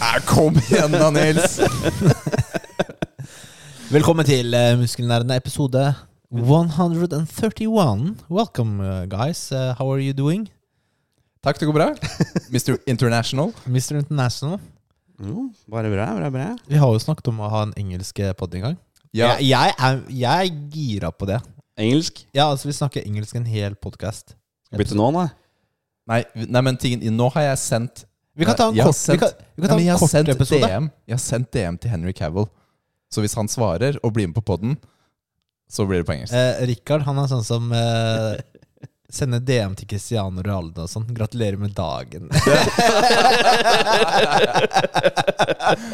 Nei, kom igjen da, Nils! Velkommen til eh, Muskelnerdene episode 131. Welcome, uh, guys. Uh, how are you doing? Takk, det går bra. Mr. International. Mr. International. Jo, bare bra, bra, bra. Vi har jo snakket om å ha en engelsk pod en gang. Ja, Jeg, jeg, er, jeg er gira på det. Engelsk? Ja, altså Vi snakker engelsk en hel podkast. Bytte nå, da. nei, nei, men tingen, nå har jeg sendt Vi kan ta en Jeg har kort, vi sendt- kan, vi kan Nei, ta men jeg en har sendt kort episode. DM. Jeg har sendt DM til Henry Cavill. Så hvis han svarer og blir med på poden, så blir det på engelsk. Eh, Rikard han er sånn som eh, sender DM til Cristiano Ronaldo og sånn. Gratulerer med dagen.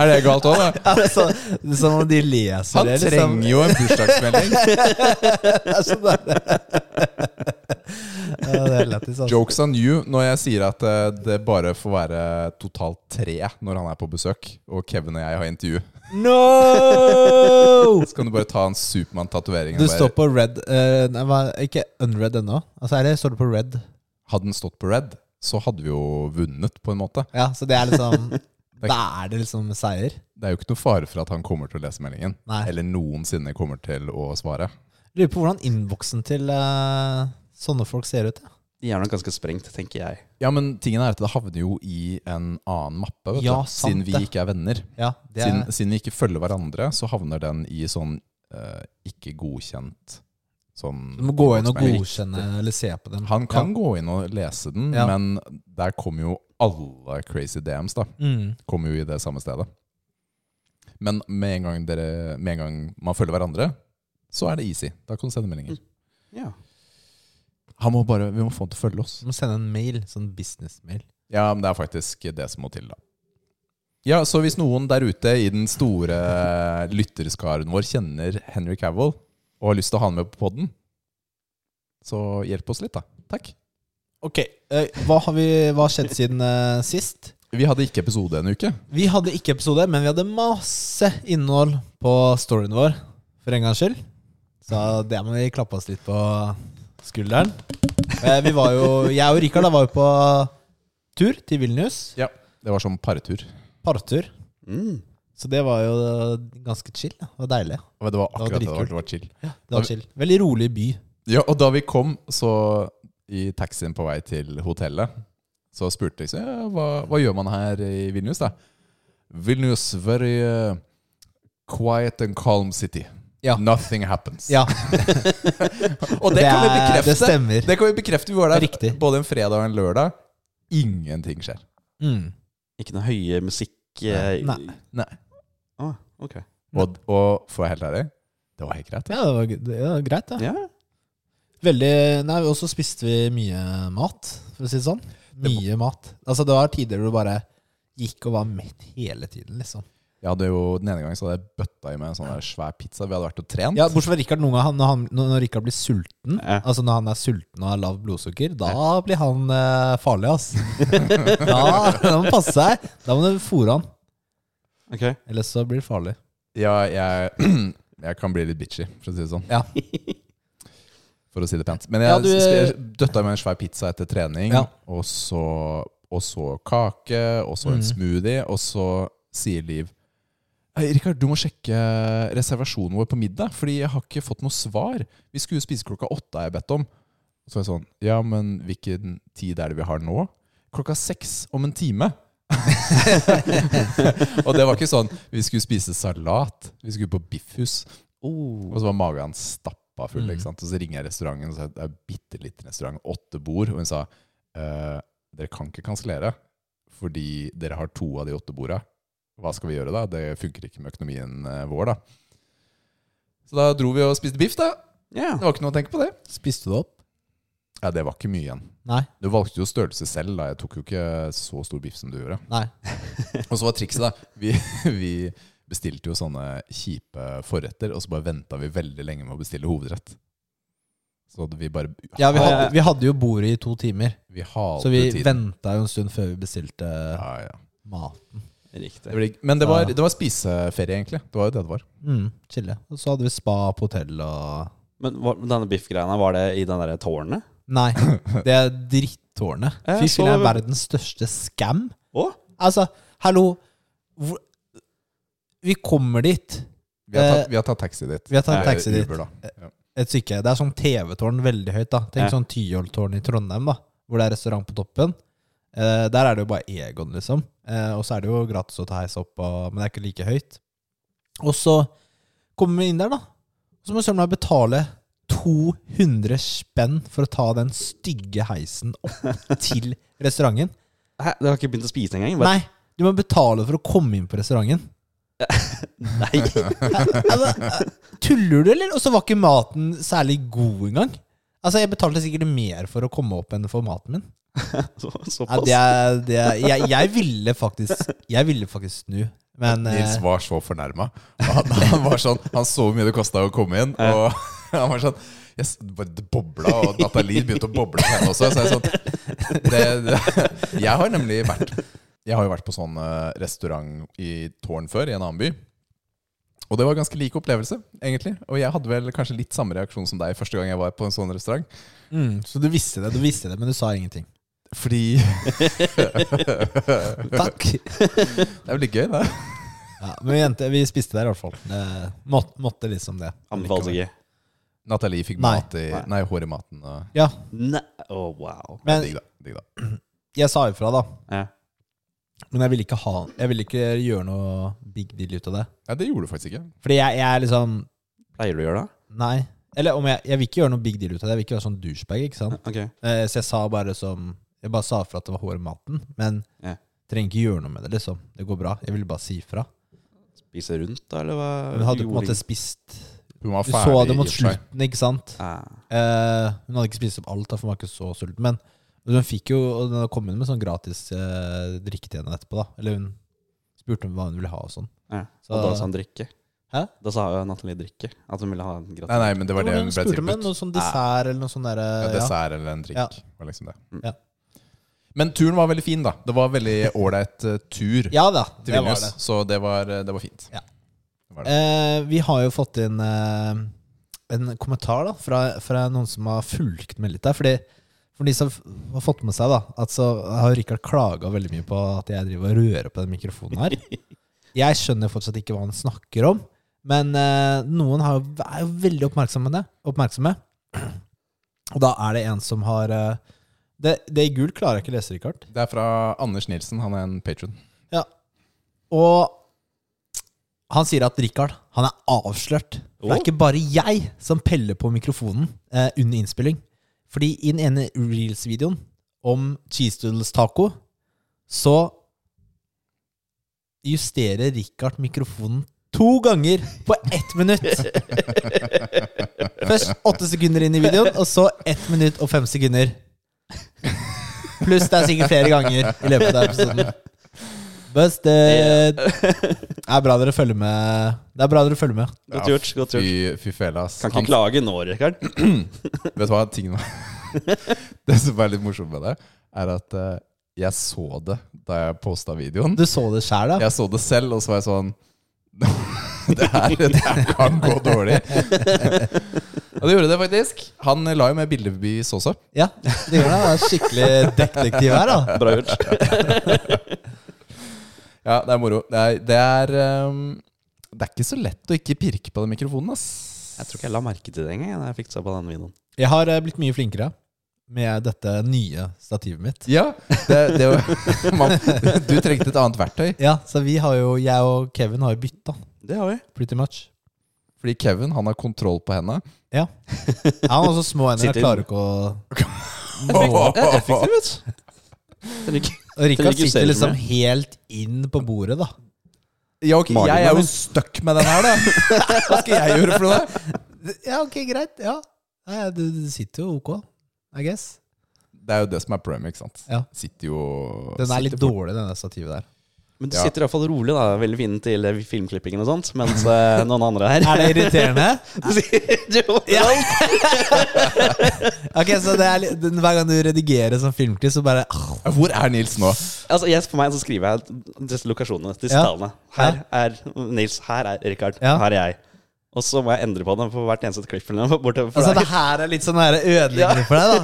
Er det galt òg, da? altså, det er som om de leser Han det. liksom. trenger jo en bursdagsmelding. Det er sånn der. ja, det er lættis, altså. Jokes on you når jeg sier at eh, det bare får være totalt tre når han er på besøk, og Kevin og jeg har intervju. No! Så kan du bare ta en Supermann-tatovering. Du står på red eh, Nei, hva- ikke unred ennå. Altså, er det, står du på red? Hadde den stått på red, så hadde vi jo vunnet, på en måte. Ja, så det er liksom Da er det liksom seier. Det er jo ikke noe fare for at han kommer til å lese meldingen. Nei. Eller noensinne kommer til å svare. Lurer på hvordan innboksen til eh, sånne folk ser ut. Ja, De er nok ganske sprengt, tenker jeg. Ja, men tingen er at det havner jo i en annen mappe, vet Ja, du. sant Siden vi det. ikke er venner. ja det er, Siden, siden vi ikke følger hverandre, så havner den i sånn eh, ikke godkjent sånn Du må gå inn og innboksmelding. godkjenne eller se på dem. Han kan gå inn og lese den, Ja. men der kommer jo alle crazy DMs, da. Ja. Mm. Kommer jo i det samme stedet. Men med en gang, dere, med en gang man følger hverandre, så er det easy. Da kan du sende meldinger. Ja. Mm. Han må bare, Vi må få han til å følge oss. Du må sende en mail, sånn businessmail. Ja, men det er faktisk det som må til, da. Ja, Så hvis noen der ute i den store lytterskaren vår kjenner Henry Cavill og har lyst til å ha han med på poden, så hjelp oss litt, da. Takk. Ok, eh, hva har vi, hva har skjedd siden eh, sist? Vi hadde ikke episode en uke. Vi hadde ikke episode, men vi hadde masse innhold på storyen vår, for en gangs skyld. Så det må vi klappe oss litt på skulderen. Eh, Vi var jo, jeg og Rikard da var jo på tur til Vilnius. Ja, Det var som partur. Partur. Mm. Så det var jo ganske chill. da. Det var deilig. Og det var akkurat det. Det var, dritkult. det var chill. Det var chill. Veldig rolig by. Ja, Og da vi kom så i taxien på vei til hotellet, så spurte jeg så, ja, hva, hva gjør man her i Vilnius. da? Vilnius, very uh, quiet and calm city. Ja. Nothing happens. Ja, Og det, kan vi er- bekrefte. Det stemmer. Det kan vi bekrefte. Vi var der Riktig. både en fredag og en lørdag. Ingenting skjer. Mm. Ikke noe høye musikk eh, Nei. Nei. Ah, ok. Og, og for å være helt ærlig, det var helt greit. Ja, det var, g- det var greit, det. Ja. Veldig Nei, og så spiste vi mye mat, for å si det sånn. Mye mat. Altså, det var tider hvor du bare gikk og var mett hele tiden, liksom. Jeg hadde jo, Den ene gangen så hadde jeg bøtta i meg en sånn der svær pizza. Vi hadde vært og trent. Ja, Bortsett fra Richard, noen ganger han- når, han, når når Richard blir sulten Ja. Altså når han er sulten og har lavt blodsukker, da blir han eh, farlig, ass. da, da må man passe seg. Da må du fôre han. Ok. Ellers så blir det farlig. Ja, jeg, jeg kan bli litt bitchy, for å si det sånn. Ja. For å si det pent. Men jeg Ja, du- eh, sp- døtta med en svær pizza etter trening, Ja. og, så, og så kake, og så en Mm. smoothie, og så sier Liv Hei, Rikard, du må sjekke reservasjonen vår på middag, fordi jeg har ikke fått noe svar. Vi skulle jo spise klokka åtte, har jeg bedt om. Så er jeg sånn Ja, men hvilken tid er det vi har nå? Klokka seks om en time. og det var ikke sånn Vi skulle spise salat. Vi skulle på biffhus. Oh. Og så var magen stappa full. Mm. ikke sant? Og så ringer jeg restauranten og sa det er en bitte liten restaurant, åtte bord. Og hun sa «Eh, dere kan ikke kansellere fordi dere har to av de åtte borda. Hva skal vi gjøre da? Det funker ikke med økonomien eh, vår, da. Så da dro vi og spiste biff, da. Ja. Det var ikke noe å tenke på det. Spiste du opp? Ja, det var ikke mye igjen. Nei. Du valgte jo størrelse selv, da. Jeg tok jo ikke så stor biff som du gjorde. Nei. Og så var trikset, da. Vi, vi bestilte jo sånne kjipe forretter, og så bare venta vi veldig lenge med å bestille hovedrett. Så hadde vi bare Ja, vi hadde, vi hadde jo bordet i to timer, vi halte så vi tiden. venta jo en stund før vi bestilte eh, Ja, ja. mat. Det Riktig. blir, men det var, Ja. det var spiseferie, egentlig. Det var jo det det var. Mm, chille. Og så hadde vi spa på hotell og Men hva- denne biffgreia, var det i den derre tårnet? Nei, det er drittårnet. Jeg Fy så- fillen er verdens største scam. Å? Altså, hallo hvor, Vi kommer dit. Vi har Eh, tatt, vi har tatt taxi dit. Vi har tatt Eller taxi dit. Uber, da. Ja. Et stykke. Det er sånn TV-tårn veldig høyt. da Tenk Ja. sånn Tyholttårn i Trondheim, da hvor det er restaurant på toppen. Eh, der er det jo bare Egon, liksom. Eh, og så er det jo gratis å ta heis opp, og, men det er ikke like høyt. Og så kommer vi inn der, da. Så må søren meg betale 200 spenn for å ta den stygge heisen opp til restauranten. Hæ, dere har ikke begynt å spise engang? Bare- Nei, du må betale for å komme inn på restauranten. Nei. Altså, Tuller du, eller? Og så var ikke maten særlig god engang. Altså, Jeg betalte sikkert mer for å komme opp enn for maten min. Så, Nei, såpass? det er, det er, jeg, jeg ville faktisk Jeg ville faktisk snu, men eh, Nils var så fornærma. Han, han var sånn Han så hvor mye det kosta å komme inn. Og han var sånn yes, det bare- Det bobla, og Nathalie begynte å boble på henne også. Så jeg, sånn, det, det, jeg har nemlig vært Jeg har jo vært på sånn eh, restaurant i tårn før, i en annen by. Og det var ganske lik opplevelse, egentlig. Og jeg hadde vel kanskje litt samme reaksjon som deg første gang jeg var på en sånn restaurant. mm, Så du visste det, du visste det, men du sa ingenting. Fordi Takk. Det er vel litt gøy, det. Ja, men vi, jente, vi spiste der i hvert fall. Det måtte, måtte liksom det. Anbefales ikke. Nathalie fikk Nei. mat i, Nei. nei, hår i maten. Og, Ja, Nei. Å, wow. men, men digg, da. Digg, da. jeg sa ifra, da. Ja. Men jeg ville ikke, ha, jeg ville ikke gjøre noe big deal ut av det. Nei, det gjorde du faktisk ikke. Fordi jeg, jeg er liksom Pleier du å gjøre det? Nei. Eller om jeg, jeg vil ikke gjøre noe big deal ut av det. Jeg vil ikke være sånn douchebag. ikke sant? Ok. Eh, så jeg sa bare som Jeg bare sa fra at det var hår i maten. Men Ja. trenger ikke gjøre noe med det, liksom. Det går bra. Jeg ville bare si fra. Spise rundt, da, eller hva? Hun hadde på en Gjorde måte spist Hun var Du så det i mot og for seg. slutten, ikke sant? Ah. Eh, hun hadde ikke spist opp alt, da, for hun var ikke så sulten. Men hun fikk jo og Hun kom inn med sånn gratis eh, drikke til henne etterpå, da. Eller hun spurte om hva hun ville ha og sånn. Ja. Så- Og da sa han drikke. Hæ? Da sa jo Nathalie drikke. At hun ville ha en gratis. Nei, nei, men det var det hun hun ble spurte om tilbudt. noe sånn dessert eller noe sånn derre Ja, ja. dessert eller en drikk. Ja. Mm. Var liksom det. Ja. Men turen var veldig fin, da. Det var veldig ålreit eh, tur ja da, til det var Vilnius, det. så det var, eh, det var fint. Ja. Det var det. Eh, vi har jo fått inn eh, en kommentar da, fra, fra noen som har fulgt med litt der. Fordi, for de som f- har fått med seg da, at så har Rikard klaga veldig mye på at jeg driver og rører på den mikrofonen her. Jeg skjønner fortsatt ikke hva han snakker om, men eh, noen har, jo- er jo veldig oppmerksomme. det- oppmerksomme. Og da er det en som har eh, det, det i gult klarer jeg ikke å lese, Rikard. Det er fra Anders Nilsen. Han er en patron. Og han sier at Richard han er avslørt. For Det Åh. er ikke bare jeg som peller på mikrofonen eh, under innspilling. Fordi i den ene Reels-videoen om cheese doodles taco, så justerer Richard mikrofonen to ganger på ett minutt. Først åtte sekunder inn i videoen, og så ett minutt og fem sekunder. Pluss det er sikkert flere ganger i løpet av episoden. Busted! Det er bra dere følger med. Det er bra dere følger med. Godt gjort. godt gjort Fy, fy fela, ass. Kan Han- ikke klage nå, Rikard. Vet du hva tingen var? det som er litt morsomt med det, er at eh, jeg så det da jeg posta videoen. Du så det sjæl, da? Jeg så det selv, og så var jeg sånn Det her, det her kan gå dårlig. Og det gjorde det faktisk. Han la jo med bildebevis også. Ja. Det gjør det. Det er skikkelig detektiv her, da. Bra gjort. Ja, det er moro. Det er, det er, ehm, det er ikke så lett å ikke pirke på den mikrofonen, ass. Jeg tror ikke jeg la merke til det engang. jeg, Da jeg fikk se på den videoen Jeg har eh, blitt mye flinkere med dette nye stativet mitt. Ja, det, det var, man, Du trengte et annet verktøy. Ja, så vi har jo Jeg og Kevin har jo bytta, Det har vi. pretty much. Fordi Kevin han har kontroll på henda. Ja, Han har så små hender, jeg Sitter- klarer ikke å Åh. Det er effektivt, vet du. Den gikk- Og Rikard ikke sitter selv liksom med. helt inn på bordet, da. Ja, ok, Magen jeg er jo min. stuck med den her, da. Hva skal jeg gjøre for noe? Ja, ok, greit. Ja. Nei, du, du sitter jo ok. I guess. Det er jo det som er problemet, ikke sant? Ja. Sitter jo Den er litt sitter fort- dårlig, den der stativet der. Men du Ja. sitter iallfall rolig, da. Veldig fin til eh, filmklippingen og sånt. Mens eh, noen andre her Er det irriterende? Du sitter jo Ja. ok, så det er litt, den- Hver gang du redigerer som filmklipp, så bare ah, Ja, Hvor er Nils nå? Altså, yes, For meg så skriver jeg disse lokasjonene, disse Ja. tallene. Her er Nils, her er Rikard, Ja. her er jeg. Og så må jeg endre på dem på hvert eneste klipp. eller noe, bortover for Altså, deg. det her er litt sånn her ødeleggende for deg, da?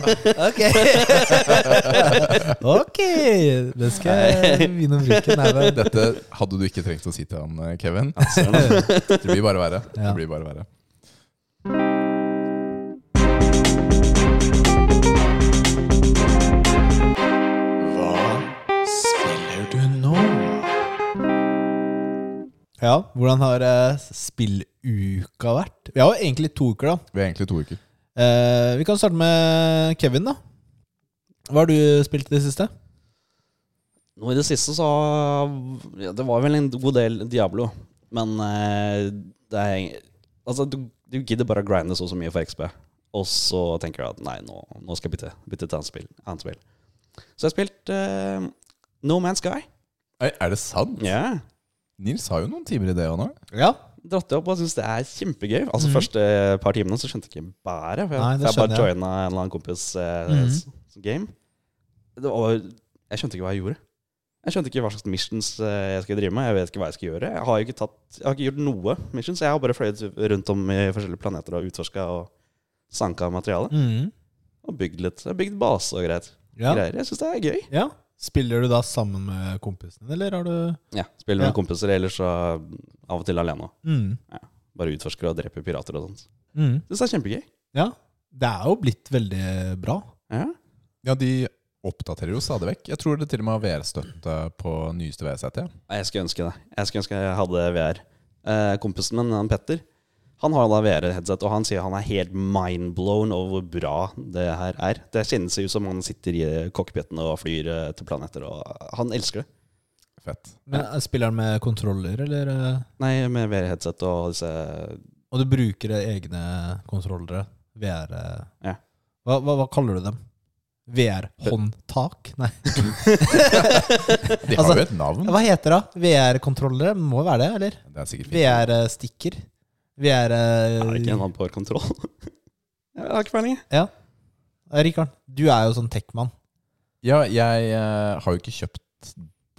Ok. ok, det skal jeg begynne å bruke. Nei, men. Dette hadde du ikke trengt å si til han, eh, Kevin. Altså, Det blir bare verre. Ja. Det blir bare verre. Ja, Hvordan har eh, spilluka vært? Vi har jo egentlig to uker, da. Vi er egentlig to uker. Eh, vi kan starte med Kevin, da. Hva har du spilt i det siste? Nå i det siste så ja, Det var vel en god del Diablo. Men eh, det er Altså, du, du gidder bare å grinde så og så mye for XB. Og så tenker jeg at nei, nå, nå skal jeg bytte, bytte til annet spill. Annet spill. Så jeg har spilt eh, No Man's Sky. Nei, er det sant? Ja. Nils har jo noen timer i det òg nå. Ja, dratt det opp og syns det er kjempegøy. Altså Mhm. første par timene så skjønte jeg ikke bæret. For jeg, Nei, det for jeg bare skjønner joina en eller annen kompis eh, Mhm. s- game. Det var, jeg skjønte ikke hva jeg gjorde. Jeg skjønte ikke hva slags missions eh, jeg skulle drive med. Jeg vet ikke hva jeg skal gjøre. Jeg har jo ikke, tatt, jeg har ikke gjort noe missions. Jeg har bare fløyet rundt om i forskjellige planeter og utforska og sanka materiale. Mhm. Og bygd litt. Jeg har bygd base og greit. ja. greier. Jeg syns det er gøy. ja. Spiller du da sammen med kompisene, eller har du Ja, Spiller med Ja. kompiser, eller så av og til alene. Mhm. Bare utforsker og dreper pirater og sånt. Mhm. Syns det er kjempegøy. Ja. Det er jo blitt veldig bra. Ja. Ja, de oppdaterer jo stadig vekk. Jeg tror det til og med har VR-støtte på nyeste VSET. ja. Nei, Jeg skulle ønske det. Jeg skulle ønske jeg hadde VR. Eh, kompisen min, han Petter, han har jo da VR-headset, og han sier han er helt mindblown over hvor bra det her er. Det kjennes jo som han sitter i eh, cockpiten og flyr eh, til planeter, og han elsker det. Fett. Men eh, Spiller han med kontroller, eller? eh? Nei, med VR-headset og disse Og du bruker egne kontrollere? VR eh. Ja. hva, hva, hva kaller du dem? VR-håndtak? Nei, De har Altså- jo et navn. hva heter det? da? VR-kontrollere? Må jo være det, eller? eh, Det er sikkert fint. VR-stikker? VR... eh, Er det ikke en mann på kontroll? Jeg har ikke peiling. jeg. Eh, Rikard, du er jo sånn tech-mann. Ja, jeg eh, har jo ikke kjøpt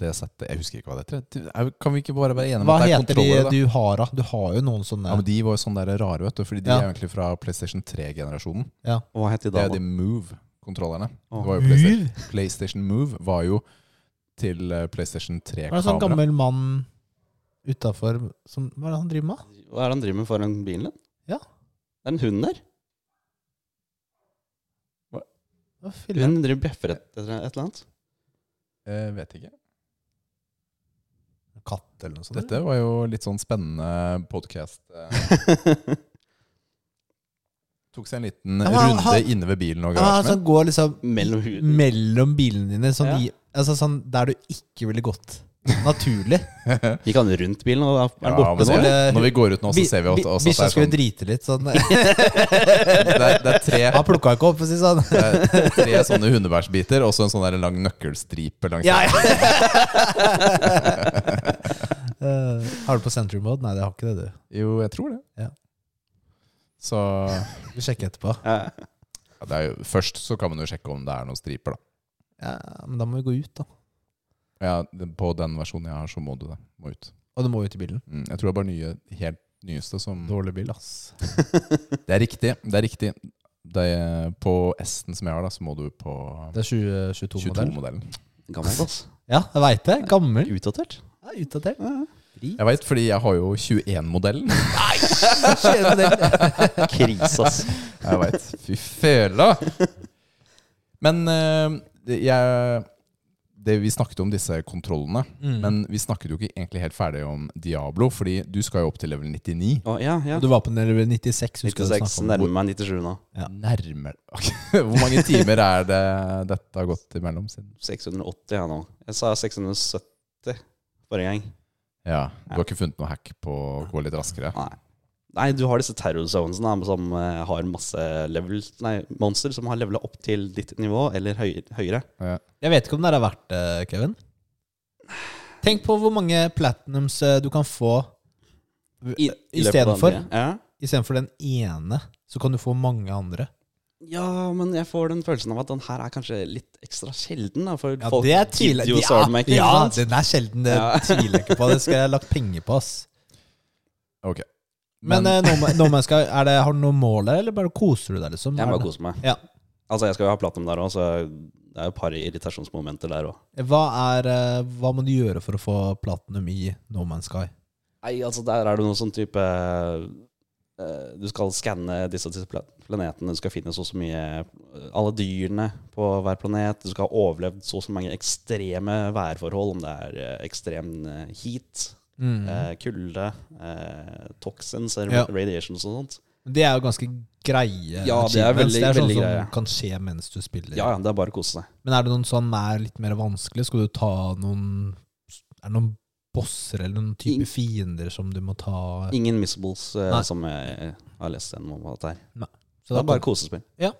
det settet. Jeg husker ikke hva det heter. Du, er jo- Kan vi ikke bare være enige om Hva at det er heter de kontrollere? da? du har, da? Du har jo noen sånne Ja, men De var jo sånn der rare, vet du. Fordi de Ja. er jo egentlig fra PlayStation 3-generasjonen. Hva het de Det da? er de da? Move-kontrollerne. Å. Det var jo PlayStation. PlayStation Move var jo til eh, PlayStation Det var en 3-kamera. sånn gammel mann utafor som Hva er det han driver med? Hva er det han driver med foran bilen din? Ja. Det er en hund der. Hva filmer Hun driver bjeffer et, et eller annet. Eh, vet ikke. han? Katt eller noe sånt? Dette var jo litt sånn spennende podkast. Tok seg en liten Ja, men han- runde han- inne ved bilen og Ja, han garasjen. som går liksom Mellom huden. mellom bilene dine, sånn, Ja. i, altså, sånn der du ikke ville gått. Naturlig. Gikk han rundt bilen og er Ja, han borte men nå? så- eller? når vi går ut nå, så ser vi at, Bi- også Bikkja at det skulle er sånn drite litt, sånn. Det er, det er tre Han plukka ikke opp, for å si det sånn. Det er tre sånne hundebærsbiter og så en sånn der lang nøkkelstripe langs Ja, ja. Eh, har du på Century Mode? Nei, det har ikke det, du. Jo, jeg tror det. Ja. Så ja, Vi sjekker etterpå. Ja. det er jo, Først så kan man jo sjekke om det er noen striper, da. Ja, men da må vi gå ut, da. Ja, det- På den versjonen jeg har, så må du det. Må ut. Og du må ut i bilen. Mm, jeg tror det er bare nye, helt nyeste som Dårlig bil, ass. Det er riktig. det er riktig det er, På S-en som jeg har, da, så må du på Det er 2022-modell. 22-modellen. Gammelt, ass. Ja, jeg veit det. Gammel. Utdatert. Ja, Utdatert. Jeg veit, fordi jeg har jo 21-modellen. Krise, ass. Jeg veit. Fy fela! Men eh, jeg det Vi snakket om disse kontrollene, Mm. men vi snakket jo ikke egentlig helt ferdig om Diablo, fordi du skal jo opp til level 99. Å, ja, ja. Og Mm. Du var på nivå 96, husker jeg du 96, snakket om. nærmer meg 97 nå. Ja. Nærmere Ok, Hvor mange timer er det dette har gått imellom siden? 680 jeg nå. Jeg sa 670 forrige gang. Ja, Du har ikke funnet noe hack på å gå litt raskere? Nei. Nei, du har disse terror zones da, som eh, har masse level, nei, monster som har levela opp til ditt nivå, eller høy, høyere. Ja. Jeg vet ikke om det er verdt det, Kevin. Tenk på hvor mange platinums eh, du kan få I- i løpet av Istedenfor? den tida. Ja. istedenfor den ene. Så kan du få mange andre. ja, men jeg får den følelsen av at den her er kanskje litt ekstra sjelden. Da, for Ja, folk det er tydelig. gidder jo søren meg ikke, ja, ikke sant? den er sjelden. Det Ja. tviler jeg ikke på. Det skal jeg ha lagt penger på. ass Ok. Men, Men- eh, no, Ma- no, Man's Sky, er det, har du noe mål der, eller bare koser du deg? liksom? Jeg Er bare det- koser meg. Ja. Altså, jeg skal jo ha platinum der òg, så det er jo et par irritasjonsmomenter der òg. Hva, er, eh, hva må du gjøre for å få platinum i No Man's Sky? Nei, altså, der er det noe sånn type eh, Du skal skanne disse, disse pla- planetene, du skal finne så og så mye eh, Alle dyrene på hver planet. Du skal ha overlevd så og så mange ekstreme værforhold, om det er eh, ekstrem eh, heat, eh, kulde, eh, toxins, eh, Mhm. Ja. radiations og sånt. Det er jo ganske greie Ja, det er achievements. veldig- det er sånn veldig som greie. kan skje mens du spiller. Ja, ja, det er bare å kose seg. Men er det noen som er litt mer vanskelig? Skal du ta noen Er det noen bosser eller noen type Ing- fiender som du må ta? Ingen missables, eh, Nei. som jeg har lest gjennom om dette her. Så Det da er bare kosespill. Ja.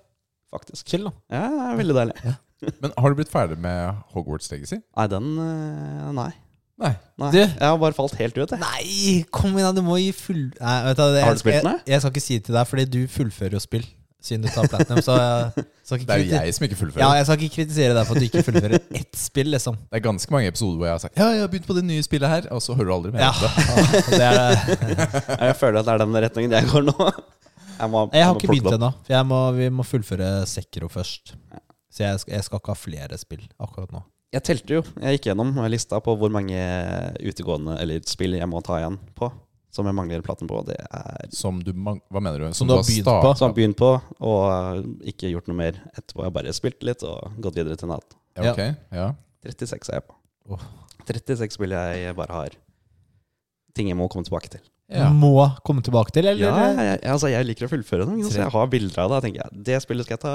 Faktisk. chill, da. Ja, det er veldig deilig. eh, Men har du blitt ferdig med Hogwarts Legacy? Nei, den eh, Nei. Nei. Nei. Du- Jeg har bare falt helt ut, jeg. Nei, kom igjen, da, du må gi full... Nei, vet du, hva, jeg, Har du spilt den, Jeg, jeg skal ikke si det til deg, fordi du fullfører jo spill siden du tar platinum. Så jeg skal ikke Det er jo kriti- jeg som ikke fullfører. Ja, jeg skal ikke kritisere deg for at du ikke fullfører ett spill, liksom. Det er ganske mange episoder hvor jeg har sagt Ja, jeg har begynt på det nye spillet her, og så hører du aldri mer. Ja, om det. det er, Jeg føler at det er den retningen jeg går nå. Jeg, må, jeg har må ikke plukke begynt det opp. ennå, for jeg må, vi må fullføre Sekiro først. Så jeg skal, jeg skal ikke ha flere spill akkurat nå. Jeg telte jo. Jeg gikk gjennom lista på hvor mange utegående eller spill jeg må ta igjen på. Som jeg mangler platen på. Det er Som du mang- Hva mener du? Som, du har begynt på. Så jeg har begynt på, og eh, ikke gjort noe mer etterpå. Jeg har bare spilt litt og gått videre til natt. Ja, ok. ja. 36 er jeg på. Åh. 36 spill jeg bare har ting jeg må komme tilbake til. Ja. Du må komme tilbake til, Ja, eller? eh, jeg, altså jeg liker å fullføre dem. Så jeg har bilder av det. Jeg tenker jeg, det spillet skal jeg ta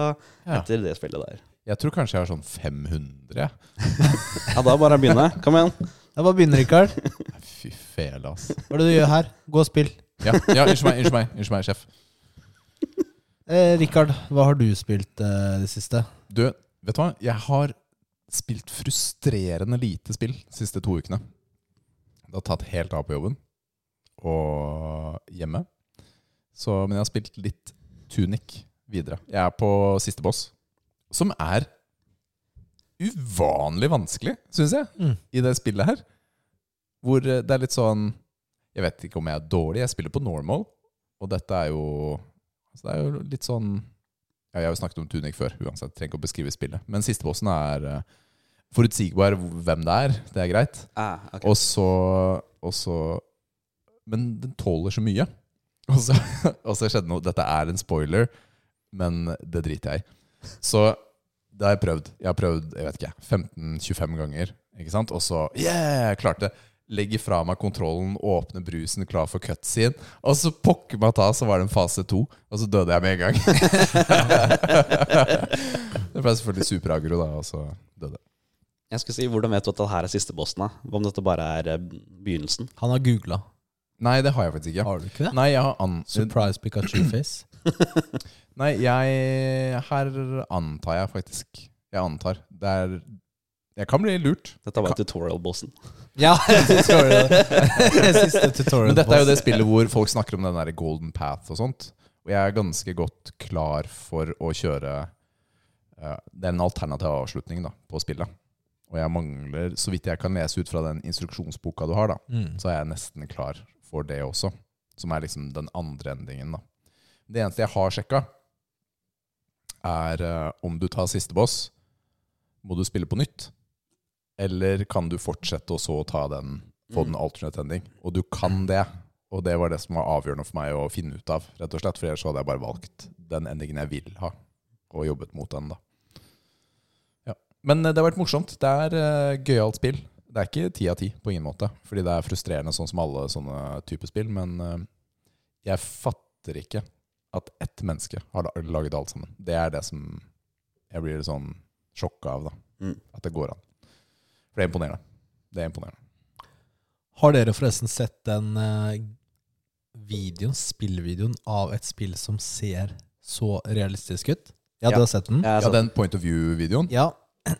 Ja. etter det spillet der. Jeg tror kanskje jeg har sånn 500. Ja, da bare begynne. Kom igjen. Jeg bare begynner, Rikard. Nei, Fy fele, ass. Hva er det du gjør her? Gå og spill. Ja, ja unnskyld meg, unnskyld meg, unnskyld meg, sjef. Eh, Rikard, hva har du spilt eh, det siste? Du, vet du hva? Jeg har spilt frustrerende lite spill de siste to ukene. Det har tatt helt av på jobben og hjemme. Så, men jeg har spilt litt Tunic videre. Jeg er på siste boss, som er uvanlig vanskelig, syns jeg, Mm. i det spillet her. Hvor eh, det er litt sånn Jeg vet ikke om jeg er dårlig, jeg spiller på normal, og dette er jo altså Det er jo litt sånn ja, Jeg har jo snakket om Tunic før, uansett. Trenger ikke å beskrive spillet. Men sistebossen er eh, forutsigbar hvem det er. Det er greit. Ah, ok. Og så, og så Men den tåler så mye. Og så, og så skjedde noe. Dette er en spoiler, men det driter jeg i. Så det har jeg prøvd. Jeg har prøvd jeg vet ikke, 15-25 ganger. Ikke sant? Og så Yeah! Klarte det. Legger fra meg kontrollen, åpner brusen, klar for cutscene. Og så pokker meg ta, så var det en fase to. Og så døde jeg med en gang. det ble selvfølgelig superagro, da, og så døde jeg. Jeg skulle si, Hvordan vet du at det her er siste bossen? da? Om dette bare er eh, begynnelsen? Han har googla. Nei, det har jeg faktisk ikke. Har du ikke det? Nei, jeg har an... Surprise Pikachu-face. Nei, jeg Her antar jeg faktisk. Jeg antar. Det er Jeg kan bli lurt. Dette var tutorial-bossen. Ja, tutorial. Siste tutorial. Men dette er jo det spillet hvor folk snakker om den der golden path og sånt. Og jeg er ganske godt klar for å kjøre eh, Det er en alternativ avslutning da, på spillet. Og jeg mangler, så vidt jeg kan lese ut fra den instruksjonsboka du har, da, Mm. så er jeg nesten klar for det også. Som er liksom den andre endingen, da. Det eneste jeg har sjekka, er eh, om du tar siste boss, må du spille på nytt? Eller kan du fortsette og så ta den, få den alternate ending? Og du kan det. Og det var det som var avgjørende for meg å finne ut av, rett og slett. For ellers så hadde jeg bare valgt den endingen jeg vil ha, og jobbet mot den, da. Ja. Men eh, det har vært morsomt. Det er eh, gøyalt spill. Det er ikke ti av ti på ingen måte, fordi det er frustrerende sånn som alle sånne typer spill, men eh, jeg fatter ikke at ett menneske har la- laget alt sammen. Det er det som jeg blir litt sånn sjokka av, da. Mm. At det går an. For det er imponerende. Det er imponerende. Har dere forresten sett den eh, videoen, spillvideoen av et spill som ser så realistisk ut. Ja, Ja. altså, du har sett den? Jeg Ja, sa- den point of view-videoen. Ja.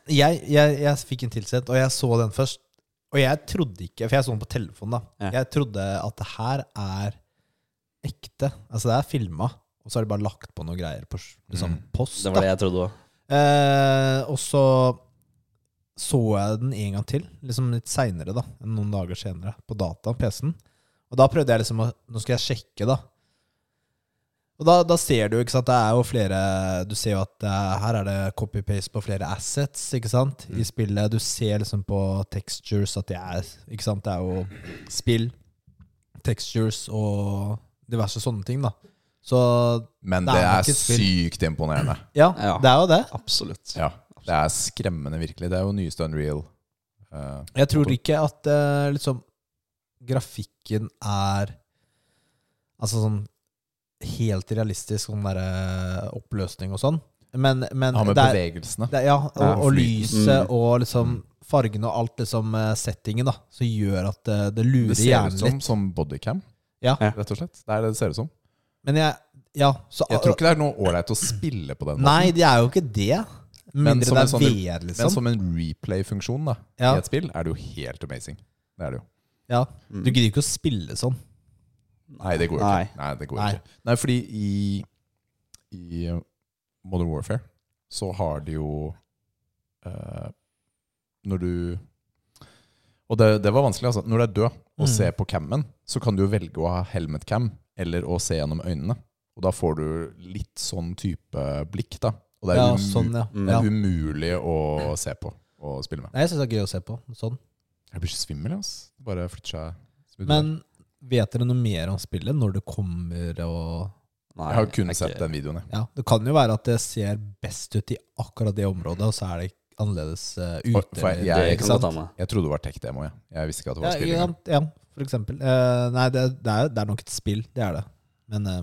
Jeg, jeg, jeg fikk en tilsett, og jeg så den først. Og jeg trodde ikke For jeg så den på telefonen, da. Ja. Jeg trodde at det her er ekte. Altså, det er filma, og så har de bare lagt på noe greier på s- liksom, Mm. post. det da. var det jeg trodde òg. Eh, og så så jeg den en gang til, liksom litt seinere, da. enn Noen dager senere, på data, PC-en. Og da prøvde jeg liksom å Nå skal jeg sjekke, da. Og da, da ser du jo, ikke sant, det er jo flere Du ser jo at det er, her er det copy-paste på flere assets, ikke sant, i spillet. Du ser liksom på textures at det er Ikke sant, det er jo spill, textures og diverse sånne ting, da. Så Men Det det er nok er et spill. sykt imponerende. ja, Ja. det er jo det. Absolutt. Ja, Det er skremmende, virkelig. Det er jo nyeste Unreal. Eh, Jeg tror ikke at eh, liksom grafikken er Altså sånn helt realistisk, sånn derre oppløsning og sånn. Men, men ha med det er- bevegelsene. det, er- ja, Ja, og, og flyten. lyset Mm. og liksom fargene og alt liksom eh, settingen da som gjør at eh, det Det lurer ser ut hjernen som, litt. som bodycam, Ja. rett og slett. Det er det det ser ut som. Men jeg Ja, så Jeg tror ikke det er noe ålreit å spille på den måten, Nei, det er jo ikke det. Men Mindre som det en er sånn- VR, men liksom. som en replay-funksjon da Ja. i et spill er det jo helt amazing. Det er det jo. Ja. Mm. Du gidder ikke å spille sånn. Nei, det går jo Nei. ikke. Nei, det går Nei. ikke. Nei, fordi i, i eh, Modern Warfare så har de jo eh, Når du Og det, det var vanskelig, altså. Når du er død og Mm. ser på cammen, så kan du jo velge å ha helmet cam eller å se gjennom øynene. Og da får du litt sånn type blikk, da. Og det er, Ja, umu sånn, ja. Mm. det ja. er umulig å se på og spille med. Nei, jeg syns det er gøy å se på. Sånn. Jeg blir så svimmel, altså. Det Bare flytter seg. smidig. Men vet dere noe mer om spillet når det kommer og Nei, jeg har kun det er sett ikke- den videoen, jeg. Ja, det kan jo være at det ser best ut i akkurat det området, og så er det annerledes eh, For- ute. for jeg- eller- jeg- ikke Det kan sant? godt hende. Jeg trodde det var tech-demo, jeg. Jeg visste ikke at det ja, var spilling. ja, ja, for eksempel. Eh, nei, det, det, er, det er nok et spill, det er det. Men eh,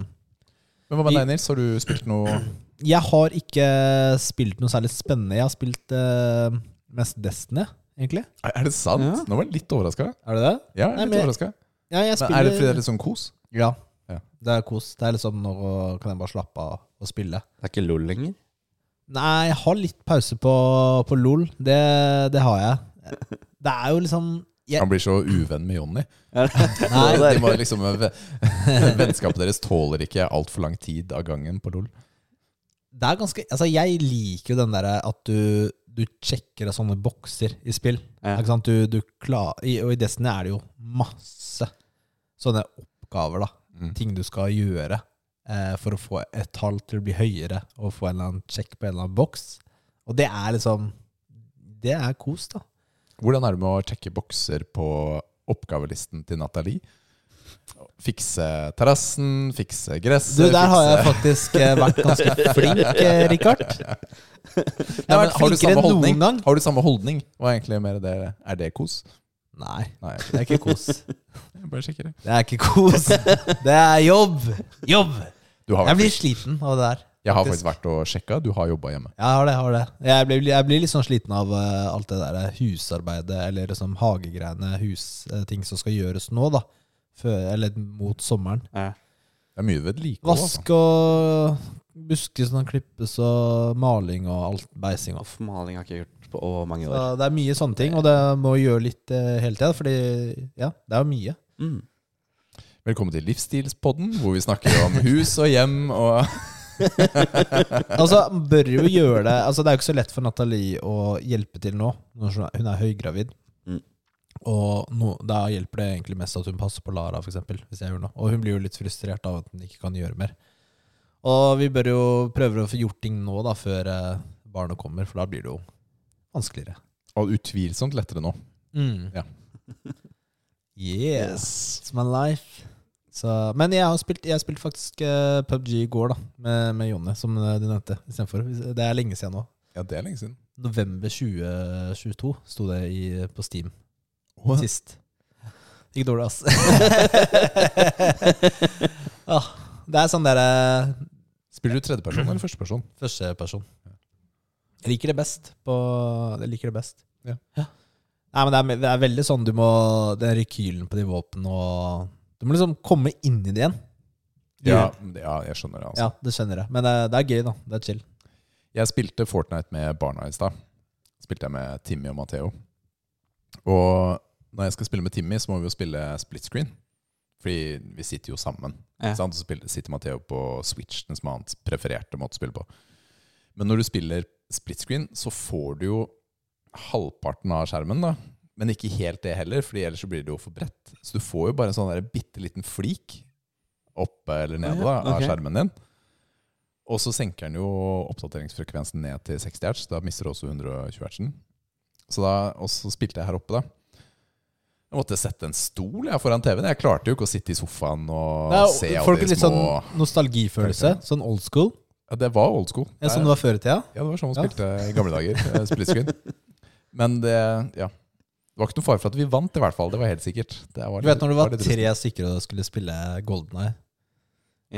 Men hva med deg, Nils? Har du spilt noe jeg har ikke spilt noe særlig spennende. Jeg har spilt eh, mest Destiny, egentlig. Er er det sant? Ja. Nå var jeg litt overraska. Er det det? Ja, jeg er Nei, litt men- overrasket. Ja, jeg Men spiller er det fordi det er litt sånn kos? Ja. Ja. Det er kos. Det er liksom nå kan jeg bare slappe av og spille. Det er ikke LOL lenger. Nei, jeg har litt pause på, på LOL. Det, det har jeg. Det er jo liksom jeg, Han blir så uvenn med Jonny. Nei, De må liksom, vennskapet deres tåler ikke altfor lang tid av gangen på LOL. det er ganske Altså, jeg liker jo den derre at du, du sjekker av sånne bokser i spill. Ja. Ikke sant? Du, du klar, i, og i Destiny er det jo masse sånne oppgaver, da. Mm. Ting du skal gjøre eh, for å få et tall til å bli høyere, og få en eller annen sjekk på en eller annen boks. Og det er liksom Det er kos, da. Hvordan er det med å sjekke bokser på oppgavelisten til Nathalie? Fikse terrassen, fikse Du, gresset der har jeg fikse- faktisk eh, vært ganske flink, eh, Rikard. Jeg Nei, har men vært har, du flinkere samme enn holdning? noen gang. har du samme holdning? Hva er egentlig mer det? Er det kos? Nei, Nei, jeg det er ikke kos. bare sjekker det. Det er ikke kos. Det er jobb. Jobb. Du har Jeg vært blir sliten av det der. Jeg har faktisk vært og sjekka. Du har jobba hjemme. Jeg har det. jeg har det. Jeg blir, jeg blir litt sånn sliten av eh, alt det der husarbeidet, eller liksom hagegreiene, husting som skal gjøres nå, da. Før, eller mot sommeren. Ja. Det er mye vedlikehold. Altså. Vask og busker som kan klippes, og maling og alt beising og Off, maling har jeg ikke gjort på å, mange år. Så det er mye sånne ting, og det må gjøre litt eh, hele tida, fordi ja, det er jo mye. Mm. Velkommen til Livsstilspodden, hvor vi snakker om hus og hjem og Altså, man bør jo gjøre det Altså, det er jo ikke så lett for Nathalie å hjelpe til nå, når hun er- hun er høygravid. Mm. Og nå- da hjelper det egentlig mest at hun passer på Lara, f.eks., hvis jeg gjør noe. Og hun blir jo litt frustrert av at hun ikke kan gjøre mer. Og vi bør jo prøve å få gjort ting nå, da, før eh, barnet kommer, for da blir det jo vanskeligere. Og utvilsomt lettere nå. Ja. Yeah. It's my life. Så, men jeg har spilt, jeg har spilt faktisk eh, PubG i går, da, med, med Jonny, som eh, du nevnte. i stedet for. Det er lenge siden nå. Ja, det er lenge siden. November 2022 sto det i, eh, på Steam What? sist. Ikke dårlig, ass. ah, det er sånn derre Spiller du tredjeperson eller førsteperson? førsteperson. Jeg liker det best. På, jeg liker det best. Ja. Nei, men det er, det er veldig sånn du må Den rekylen på de våpnene og Du må liksom komme inn i det igjen. Ja, ja, jeg skjønner det. altså. Ja, det skjønner jeg. Men det, det er gøy, da. Det er chill. Jeg spilte Fortnite med barna i stad. Spilte jeg med Timmy og Matheo. Og når jeg skal spille med Timmy, så må vi jo spille split screen. Fordi vi sitter jo sammen. Ja. ikke Sant? Så spiller, sitter Matheo på Switch, den som er hans prefererte måte å spille på. Men når du spiller split screen, så får du jo halvparten av skjermen, da. Men ikke helt det heller, Fordi ellers så blir det jo for bredt. Så du får jo bare en sånn der bitte liten flik oppe eller nede da, Ja, av ok. skjermen din. Og så senker den jo oppdateringsfrekvensen ned til 60 hertz. Da mister du også 120 hertzen. Så da, og så spilte jeg her oppe, da. Jeg måtte sette en stol jeg, foran TV-en. Jeg klarte jo ikke å sitte i sofaen og Det er- se alle Får de du litt små sånn nostalgifølelse? Sånn old school? ja, Det var old school. Ja, som Det- det var før i tida? ja, det var sånn man Ja. spilte i gamle dager. eh, Split screen. Men det ja. Det var ikke noe fare for at vi vant, i hvert fall. Det var helt sikkert. Det var Du vet når du var litt rusten. tre stykker og skulle spille Golden Eye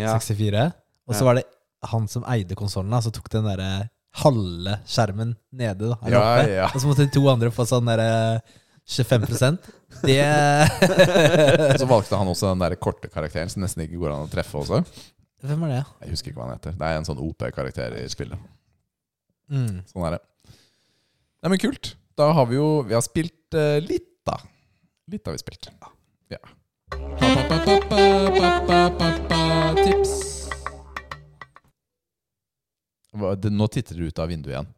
Ja. 64, og så Ja. var det han som eide konsollen, som tok den derre halve skjermen nede, da. eller Ja, oppe. ja. Og så måtte de to andre få sånn derre 25 Det Så valgte han også den der korte karakteren som nesten ikke går an å treffe også. Hvem er det? Jeg husker ikke hva han heter. Det er en sånn OP-karakter i spillet. Mm. Sånn er det. Nei, men kult. Da har vi jo Vi har spilt eh, litt, da. Litt har vi spilt. Ja. Tips. Hva, det, nå titter det ut av vinduet igjen.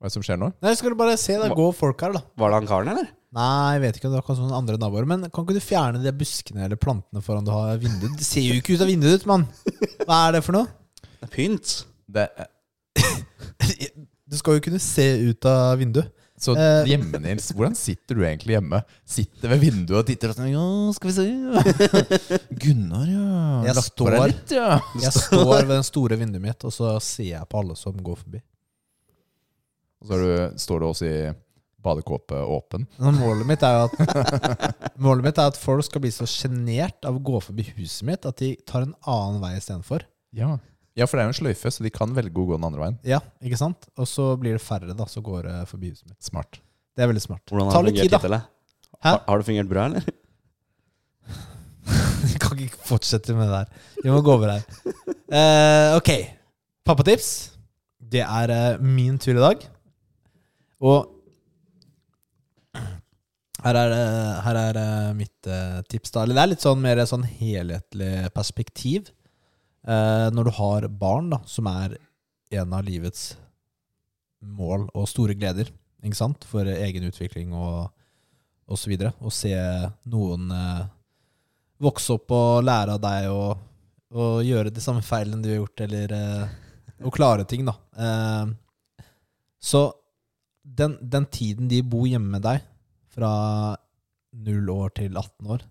Hva er det som skjer nå? Nei, skal du bare se det Hva- går folk her, da. Var det han karen, eller? Nei, jeg vet ikke om det er kanskje noen andre naboer, men kan ikke du fjerne de buskene eller plantene foran du har vinduet? Det ser jo ikke ut av vinduet ditt, mann! Hva er det for noe? Det er pynt. Det, eh, Du skal jo kunne se ut av vinduet. så Eh. hjemme, Nils, hvordan sitter du egentlig hjemme? Sitter ved vinduet og titter og sånn Ja, skal vi se Gunnar, ja. Jeg Lagt på deg står- litt, ja. Jeg står ved det store vinduet mitt, og så ser jeg på alle som går forbi. Og så er du, står du også i badekåpe åpen. Men målet mitt er jo at Målet mitt er at folk skal bli så sjenert av å gå forbi huset mitt at de tar en annen vei istedenfor. Ja. ja, for det er jo en sløyfe, så de kan velge å gå den andre veien. Ja, ikke sant? Og så blir det færre da som går eh, forbi huset mitt. Smart. Det er veldig smart. Hvordan Ta har det litt fungert tid, da. hittil? eller? Hæ? Har, har det fungert bra, eller? Vi kan ikke fortsette med det der. Vi må gå over her. Eh, ok. Pappatips. Det er eh, min tur i dag. Og her er, eh, her er eh, mitt eh, tips, da. Eller det er litt sånn mer sånn helhetlig perspektiv. Eh, når du har barn, da, som er en av livets mål og store gleder, ikke sant? For egen utvikling og, og så videre. Å se noen eh, vokse opp og lære av deg og, og gjøre de samme feilene du har gjort, eller eh, å klare ting, da. Eh, så den, den tiden de bor hjemme med deg, fra 0 år til 18 år,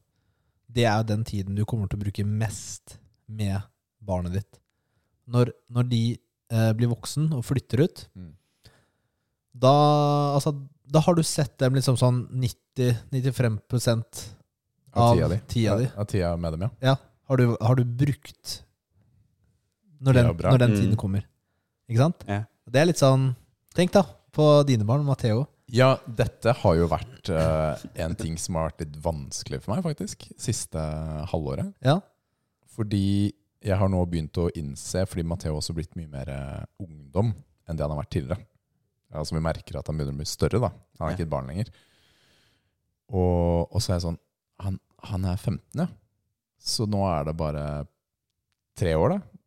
det er den tiden du kommer til å bruke mest med barnet ditt. Når, når de eh, blir voksen og flytter ut, Mm. da, altså, da har du sett dem liksom sånn 90-95 Av Av tida di. tida di. Av tida med dem, ja. har du, har du brukt Det når er den, jo bra. når den Mm. tiden kommer. Ikke sant? Ja. Det er litt sånn Tenk, da, på dine barn, Matheo. Ja, dette har jo vært eh, en ting som har vært litt vanskelig for meg, faktisk. Siste halvåret. Ja. Fordi jeg har nå begynt å innse, fordi Matheo også blitt mye mer eh, ungdom enn det han har vært tidligere. Ja, som vi merker at han begynner å bli større, da. Han er Ja. ikke et barn lenger. Og, og så er jeg sånn han, han er 15, ja. Så nå er det bare tre år, da.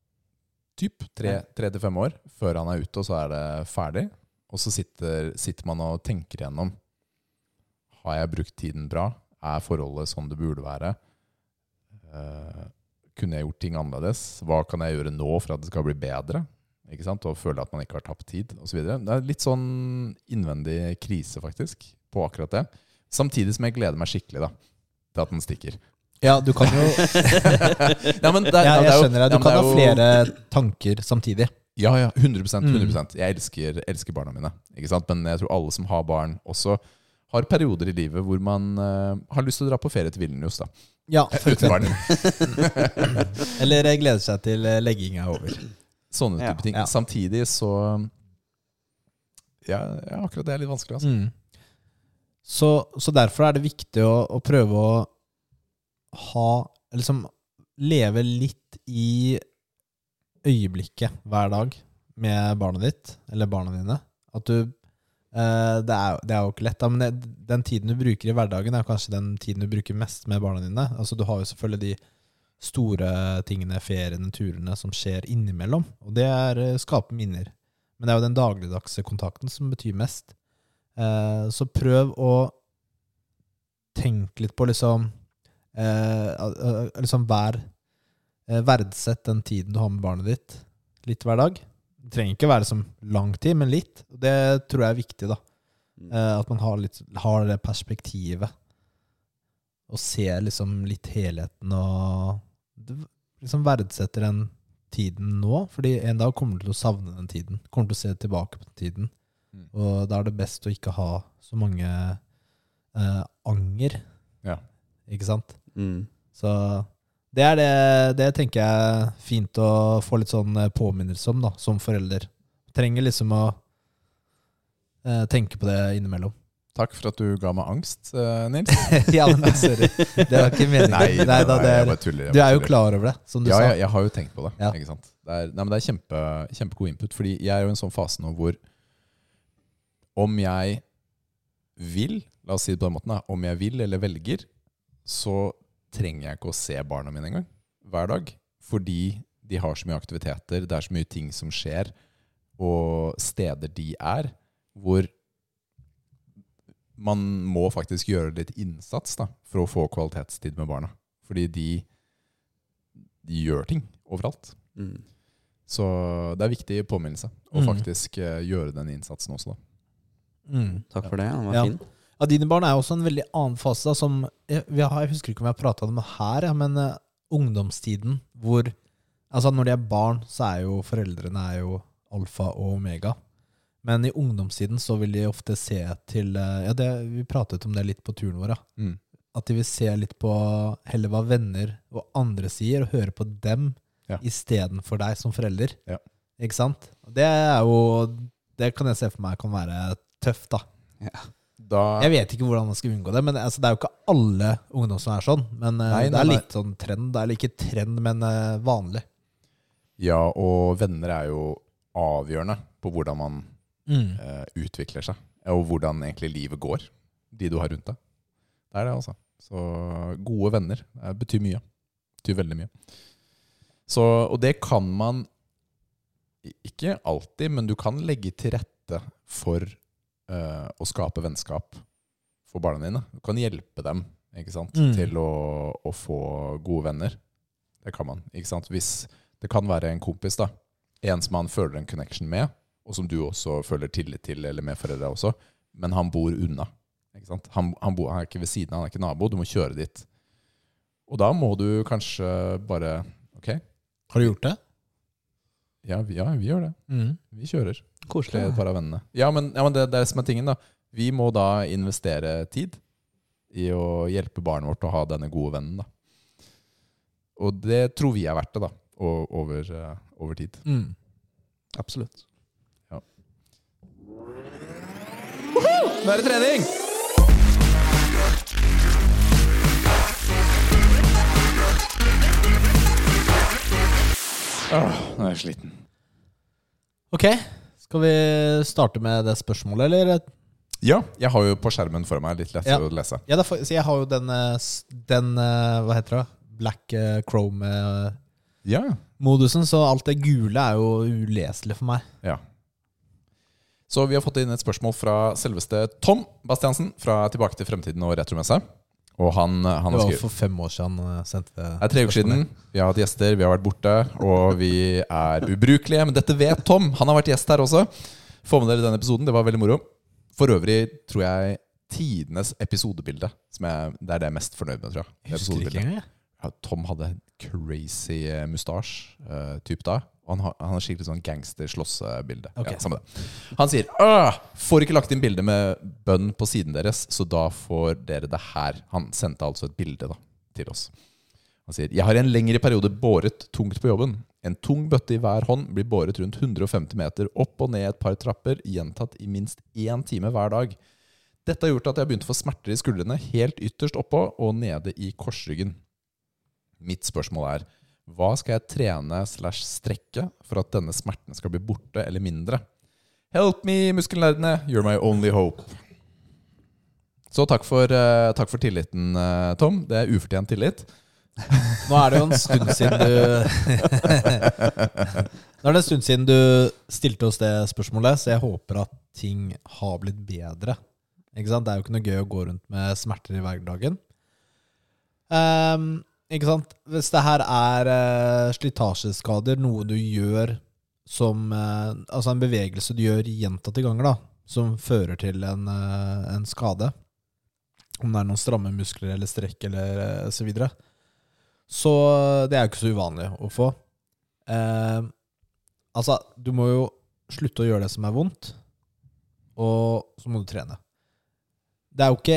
Typ. Tre, Ja. tre til fem år før han er ute, og så er det ferdig. Og så sitter, sitter man og tenker igjennom. Har jeg brukt tiden bra? Er forholdet som det burde være? Eh, kunne jeg gjort ting annerledes? Hva kan jeg gjøre nå for at det skal bli bedre? Ikke sant? Og føle at man ikke har tapt tid, osv. Det er litt sånn innvendig krise, faktisk, på akkurat det. Samtidig som jeg gleder meg skikkelig da, til at den stikker. ja, du kan jo Ja, men det, er- det ja, Jeg er jo- skjønner deg. ja, Du men kan det er ha jo- flere tanker samtidig. Ja, ja, 100 Mm. 100 Jeg elsker, elsker barna mine. Ikke sant? Men jeg tror alle som har barn, også har perioder i livet hvor man eh, har lyst til å dra på ferie til Vilnius. da Ja, for Uten eksempel. barn. Eller eh, gleder seg til eh, legging er over. Sånne Ja. type ting. Ja. Samtidig så ja, ja, akkurat det er litt vanskelig. Altså. Mm. Så, så derfor er det viktig å, å prøve å ha liksom leve litt i øyeblikket hver dag med barnet ditt, eller barna dine. At du eh, det, er, det er jo ikke lett, da, men det, den tiden du bruker i hverdagen, er jo kanskje den tiden du bruker mest med barna dine. Altså Du har jo selvfølgelig de store tingene, feriene, turene, som skjer innimellom. Og det er eh, skape minner. Men det er jo den dagligdagse kontakten som betyr mest. Eh, så prøv å tenke litt på liksom eh, al- al- Liksom vær eh, Verdsett den tiden du har med barnet ditt, litt hver dag. Det trenger ikke være som lang tid, men litt. Og Det tror jeg er viktig, da. Eh, at man har, litt, har det perspektivet. Og ser liksom litt helheten og det- liksom verdsetter den tiden nå. Fordi en dag kommer du til å savne den tiden. Kommer til å se tilbake på den tiden. Mm. Og da er det best å ikke ha så mange eh, anger. Ja. Ikke sant? Mm. Så det er det, det tenker jeg er fint å få litt sånn eh, påminnelse om, da, som forelder. Trenger liksom å eh, tenke på det innimellom. Takk for at du ga meg angst, eh, Nils. ja, men sorry. Det var ikke meningen. Nei, da, det jeg er, bare tuller. jeg du bare er jo tuller. klar over det, som du ja, sa. jeg, jeg har jo tenkt på det. Ja. Ikke sant? Det er, nei, men det er kjempe, kjempegod input. Fordi jeg er jo i en sånn fase nå hvor om jeg vil, la oss si det på den måten, da, om jeg vil eller velger, så trenger jeg ikke å se barna mine engang hver dag. Fordi de har så mye aktiviteter, det er så mye ting som skjer, og steder de er, hvor man må faktisk gjøre litt innsats da, for å få kvalitetstid med barna. Fordi de de gjør ting overalt. Mm. Så det er viktig påminnelse å Mm. faktisk eh, gjøre den innsatsen også, da. Mm. Takk for det, han var Ja. fin. Ja, dine barn er jo også en veldig annen fase, da, som jeg, vi har, jeg husker ikke om jeg har prata om det her, ja, men eh, ungdomstiden hvor Altså, når de er barn, så er jo foreldrene er jo alfa og omega. Men i ungdomstiden så vil de ofte se til eh, Ja, det, vi pratet om det litt på turen vår, ja. Mm. at de vil se litt på heller hva venner og andre sier, og høre på dem Ja. istedenfor deg som forelder. Ja. Ikke sant? Det er jo Det kan jeg se for meg kan være tøft, da. Da, Jeg vet ikke hvordan man skal unngå det, men altså, det er jo ikke alle ungdom som er sånn. Men eh, Nei, det nei, er nei. litt sånn trend. Det er eller ikke trend, men eh, vanlig. ja, og venner er jo avgjørende på hvordan man Mm. eh, utvikler seg, og hvordan egentlig livet går, de du har rundt deg. Det er det, altså. Så gode venner eh, betyr mye. Betyr veldig mye. Så, og det kan man i- ikke alltid, men du kan legge til rette for eh, å skape vennskap for barna dine. Du kan hjelpe dem ikke sant? Mm. til å, å få gode venner. Det kan man. ikke sant? Hvis det kan være en kompis, da. En som han føler en connection med, og som du også føler tillit til, eller med foreldre også. Men han bor unna. Ikke sant? Han, han, bor, han er ikke ved siden av, han er ikke nabo. Du må kjøre dit. Og da må du kanskje bare Ok, Har du gjort det? ja, vi- ja vi gjør det. Mm. Vi kjører. Koselig. Til et par av vennene. Ja, men, ja, men det, det er det som er tingen, da. Vi må da investere tid i å hjelpe barnet vårt å ha denne gode vennen, da. Og det tror vi er verdt det, da. o- Over, eh, over tid. Mm. Absolutt. Nå er det trening! Åh, nå er jeg sliten. Ok, skal vi starte med det spørsmålet, eller? Ja, jeg har jo på skjermen for meg litt lettere Ja. å lese. Ja, det er fa- så jeg har jo den, eh, s- den eh, Hva heter det? Black eh, Chrome-modusen, Ja, så alt det gule er jo uleselig for meg. Ja. Så vi har fått inn et spørsmål fra selveste Tom Bastiansen fra Tilbake til fremtiden og retromessa. Og han, han har Det var jo skrevet for fem år siden han sendte det. det er tre uker siden. Vi har hatt gjester, vi har vært borte, og vi er ubrukelige. Men dette vet Tom. Han har vært gjest her også. Få med dere denne episoden. Det var veldig moro. For øvrig tror jeg tidenes episodebilde som jeg, det er det jeg er mest fornøyd med, tror jeg. Jeg husker ikke Episodebildet. engang, jeg. Ja, Tom hadde en crazy eh, mustasje eh, typ da. Og han har, han har skikkelig sånn gangster-slåssebilde. Ok. Ja, samme det. Han sier Åh, får ikke lagt inn bilde med bønn på siden deres, så da får dere det her. Han sendte altså et bilde da, til oss. Han sier Jeg har i en lengre periode båret tungt på jobben. En tung bøtte i hver hånd blir båret rundt 150 meter opp og ned et par trapper, gjentatt i minst én time hver dag. Dette har gjort at jeg har begynt å få smerter i skuldrene, helt ytterst oppå og nede i korsryggen. Mitt spørsmål er hva skal jeg trene slash strekke for at denne smerten skal bli borte eller mindre? Help me, muskelnerdene! You're my only hope. Så takk for, eh, takk for tilliten, eh, Tom. Det er ufortjent tillit. Nå er det jo en stund siden du Nå er det en stund siden du stilte oss det spørsmålet, så jeg håper at ting har blitt bedre. Ikke sant? Det er jo ikke noe gøy å gå rundt med smerter i hverdagen. Ehm, ikke sant? Hvis det her er eh, slitasjeskader, noe du gjør som eh, Altså en bevegelse du gjør gjentatte ganger, da, som fører til en, eh, en skade, om det er noen stramme muskler eller strekk eller eh, så videre, så det er jo ikke så uvanlig å få. Eh, altså, du må jo slutte å gjøre det som er vondt, og så må du trene. Det er jo ikke,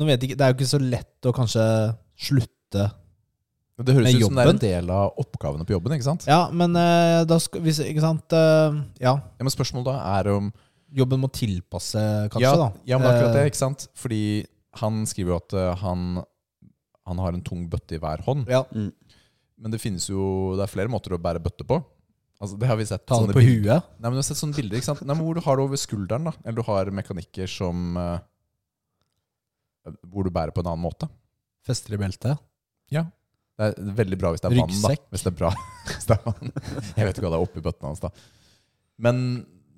nå vet jeg ikke, det er jo ikke så lett å kanskje slutte Det høres Med ut som det er en jobben? del av oppgavene på jobben. ikke sant? Ja, men eh, da skal hvis, Ikke sant? eh, ja. Ja, men spørsmålet da er om Jobben må tilpasse, kanskje. ja, da Ja, men det er akkurat det, Eh, ikke sant? Fordi han skriver jo at eh, han, han har en tung bøtte i hver hånd. Eh, Ja, Men det finnes jo Det er flere måter å bære bøtte på. Altså, det har vi sett. Ta sånne det på bilder- huet. Nei, men du har sett sånne bilder ikke sant? Nei, men hvor du har det over skulderen. da Eller du har mekanikker som eh, Hvor du bærer på en annen måte. Fester i beltet. Det er veldig bra hvis det er vann. da Ryggsekk. Hvis det er bra hvis det er vann. Jeg vet ikke hva det er oppi bøtten hans. da Men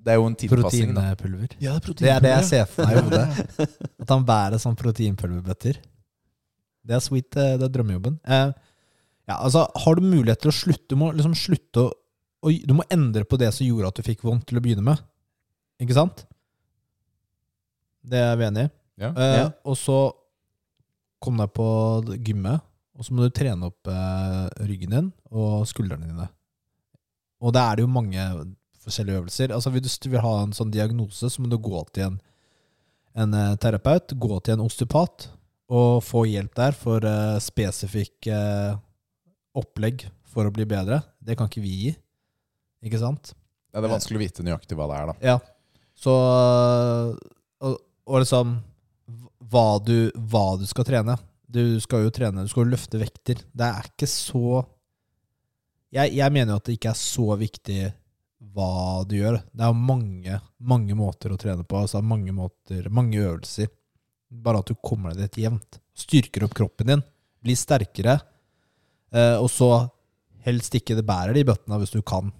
det er jo en tilpassing. da Proteinpulver. ja, det, Det er det jeg ser for meg i hodet. Ja. At han bærer sånn proteinpulverbøtter. Det er sweet. eh, Det er drømmejobben. Eh, ja, altså, har du mulighet til å slutte, du må liksom slutte å å- Du må endre på det som gjorde at du fikk vondt til å begynne med. Ikke sant? Det er vi enig i. Ja. Eh, Ja. Og så kom deg på gymmet, og så må du trene opp eh, ryggen din og skuldrene dine. Og der er det jo mange forskjellige øvelser. Altså, hvis du vil ha en sånn diagnose, så må du gå til en en eh, terapeut, gå til en osteopat og få hjelp der for eh, spesifikk eh, opplegg for å bli bedre. Det kan ikke vi gi, ikke sant? Nei, det er vanskelig å vite nøyaktig hva det er. da Ja. Så eh, og, og liksom hva du, hva du skal trene. Du skal jo trene, du skal jo løfte vekter. Det er ikke så jeg, jeg mener jo at det ikke er så viktig hva du gjør. Det er jo mange, mange måter å trene på. Altså mange måter, mange øvelser. Bare at du kommer deg dit jevnt. Styrker opp kroppen din. Blir sterkere. Eh, og så helst ikke det bærer de bøttene hvis du kan.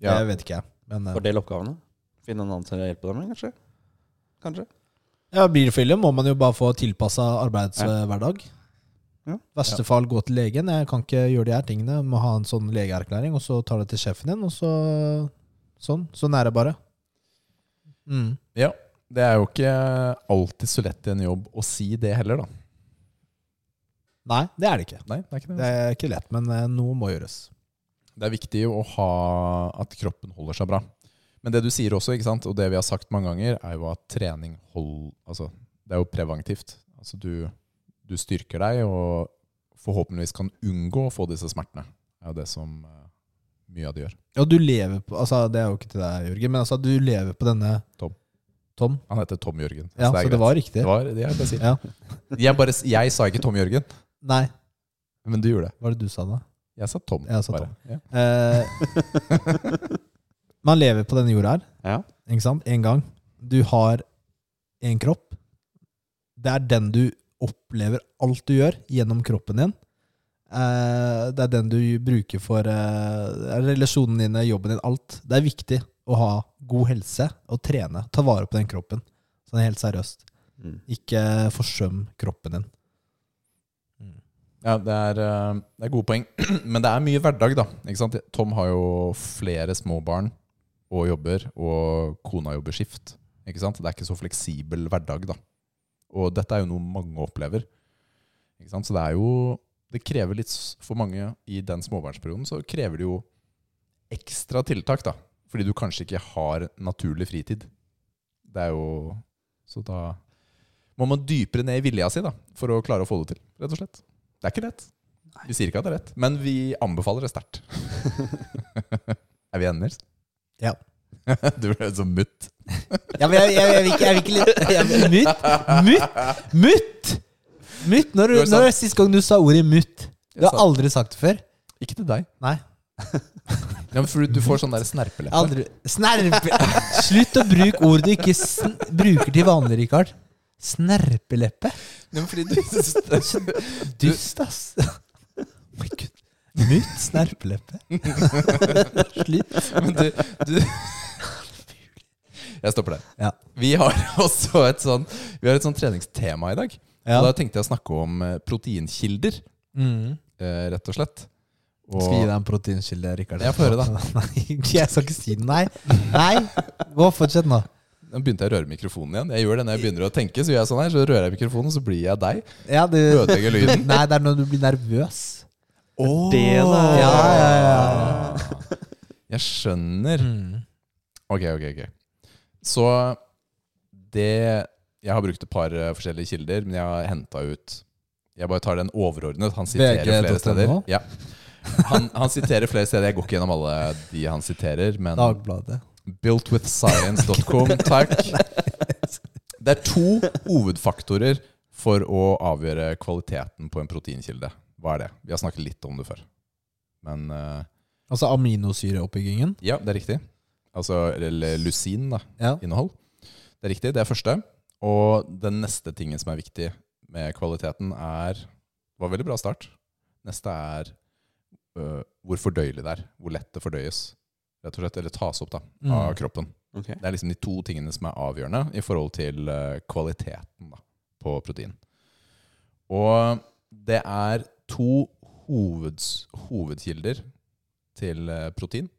Ja. Jeg vet ikke, jeg. Men, eh, Fordel oppgavene. Finne en annen til å hjelpe deg med, kanskje. Kanskje. Ja, blir det for ille, må man jo bare få tilpassa arbeidshverdag. Ja. Verste fall gå til legen. Jeg kan ikke gjøre de her tingene. Må ha en sånn legeerklæring, og så tar det til sjefen din, og så sånn. Sånn er det bare. Mm. Ja, det er jo ikke alltid så lett i en jobb å si det heller, da. Nei, det er det ikke. Nei, det er ikke det. Det er ikke lett, men eh, noe må gjøres. Det er viktig å ha at kroppen holder seg bra. Men det du sier også, ikke sant, og det vi har sagt mange ganger, er jo at trening hold, altså, det er jo preventivt. Altså, du, du styrker deg og forhåpentligvis kan unngå å få disse smertene. Det er jo det som eh, mye av det gjør. Ja, du lever på Altså, det er jo ikke til deg, Jørgen, men altså, du lever på denne Tom. Tom. Han heter Tom Jørgen. Ja, så det, er greit. var riktig. det var det jeg bare sier. Ja. Jeg, bare, s- jeg sa ikke Tom Jørgen, Nei, men du gjorde det. hva var det du sa da? Jeg sa Tom. Jeg sa bare. Tom. Ja. Eh, man lever på denne jorda her. Ja. Ikke sant? En gang. Du har en kropp. Det er den du opplever alt du gjør, gjennom kroppen din. Eh, det er den du bruker for eh, relasjonene dine, jobben din, alt. Det er viktig å ha god helse og trene. Ta vare på den kroppen. Sånn helt seriøst. Mm. Ikke forsøm kroppen din. Ja, det er, eh, det er gode poeng. Men det er mye hverdag, da. Ikke sant? Tom har jo flere små barn og jobber, og kona jobber skift. Ikke sant? Det er ikke så fleksibel hverdag, da. Og dette er jo noe mange opplever. Ikke sant? Så det er jo Det krever litt s- for mange i den småbarnsperioden, så krever det jo ekstra tiltak, da. Fordi du kanskje ikke har naturlig fritid. Det er jo Så da må man dypere ned i vilja si, da, for å klare å få det til, rett og slett. Det er ikke lett. Vi sier ikke at det er lett, men vi anbefaler det sterkt. er vi enige? Nils? Ja. du ble så mutt. Ja, men jeg, jeg, jeg, vil ikke- jeg vil ikke litt Mutt! Mutt! Mutt! Mutt? Når, Du har du- når er sist gang du sa ordet mutt? Du Jeg har sa- aldri sagt det før. Ikke til deg. Nei. Ja, men for du, du får sånn der snerpeleppe. Aldri. Snerpe... Slutt å bruke ord du ikke sn bruker til vanlig, Rikard. Snerpeleppe? Ja, men fordi du, Dust, ass. Oh my God. Mutt snerpeleppe. Slutt. men du, du Jeg stopper der. Ja. Vi har også et sånn Vi har et sånn treningstema i dag. Ja. Og da tenkte jeg å snakke om eh, proteinkilder, Mm. eh, rett og slett. Og, Skal vi gi deg en proteinkilde, Rikard? Jeg får høre det. Nei, jeg skal ikke si det. Nei. Nei. Gå, fortsett nå. Nå begynte jeg å røre mikrofonen igjen. Jeg gjør det når jeg begynner å tenke. Så gjør jeg sånn her, så rører jeg mikrofonen, så blir jeg deg. Ja, du, Ødelegger lyden. Nei, det er når du blir nervøs. Oh, det det Ja, er. ja, ja. Jeg skjønner. Mm. Ok, ok, ok. Så det Jeg har brukt et par eh, forskjellige kilder, men jeg har henta ut Jeg bare tar den overordnet. Han siterer VG.no? flere steder. Ja. Han, han siterer flere steder. Jeg går ikke gjennom alle de han siterer, men Dagbladet. builtwithscience.com, takk. Det er to hovedfaktorer for å avgjøre kvaliteten på en proteinkilde. Hva er det? Vi har snakket litt om det før. Men eh, Altså aminosyreoppbyggingen. ja, det er riktig. Altså eller lusin, da Ja. innhold. Det er riktig, det er første. Og den neste tingen som er viktig med kvaliteten, er var veldig bra start. Neste er øh, hvor fordøyelig det er. Hvor lett det fordøyes. Rett og slett, Eller tas opp da, av Mm. kroppen. Ok. Det er liksom de to tingene som er avgjørende i forhold til øh, kvaliteten da, på protein. Og det er to hoveds, hovedkilder til øh, protein.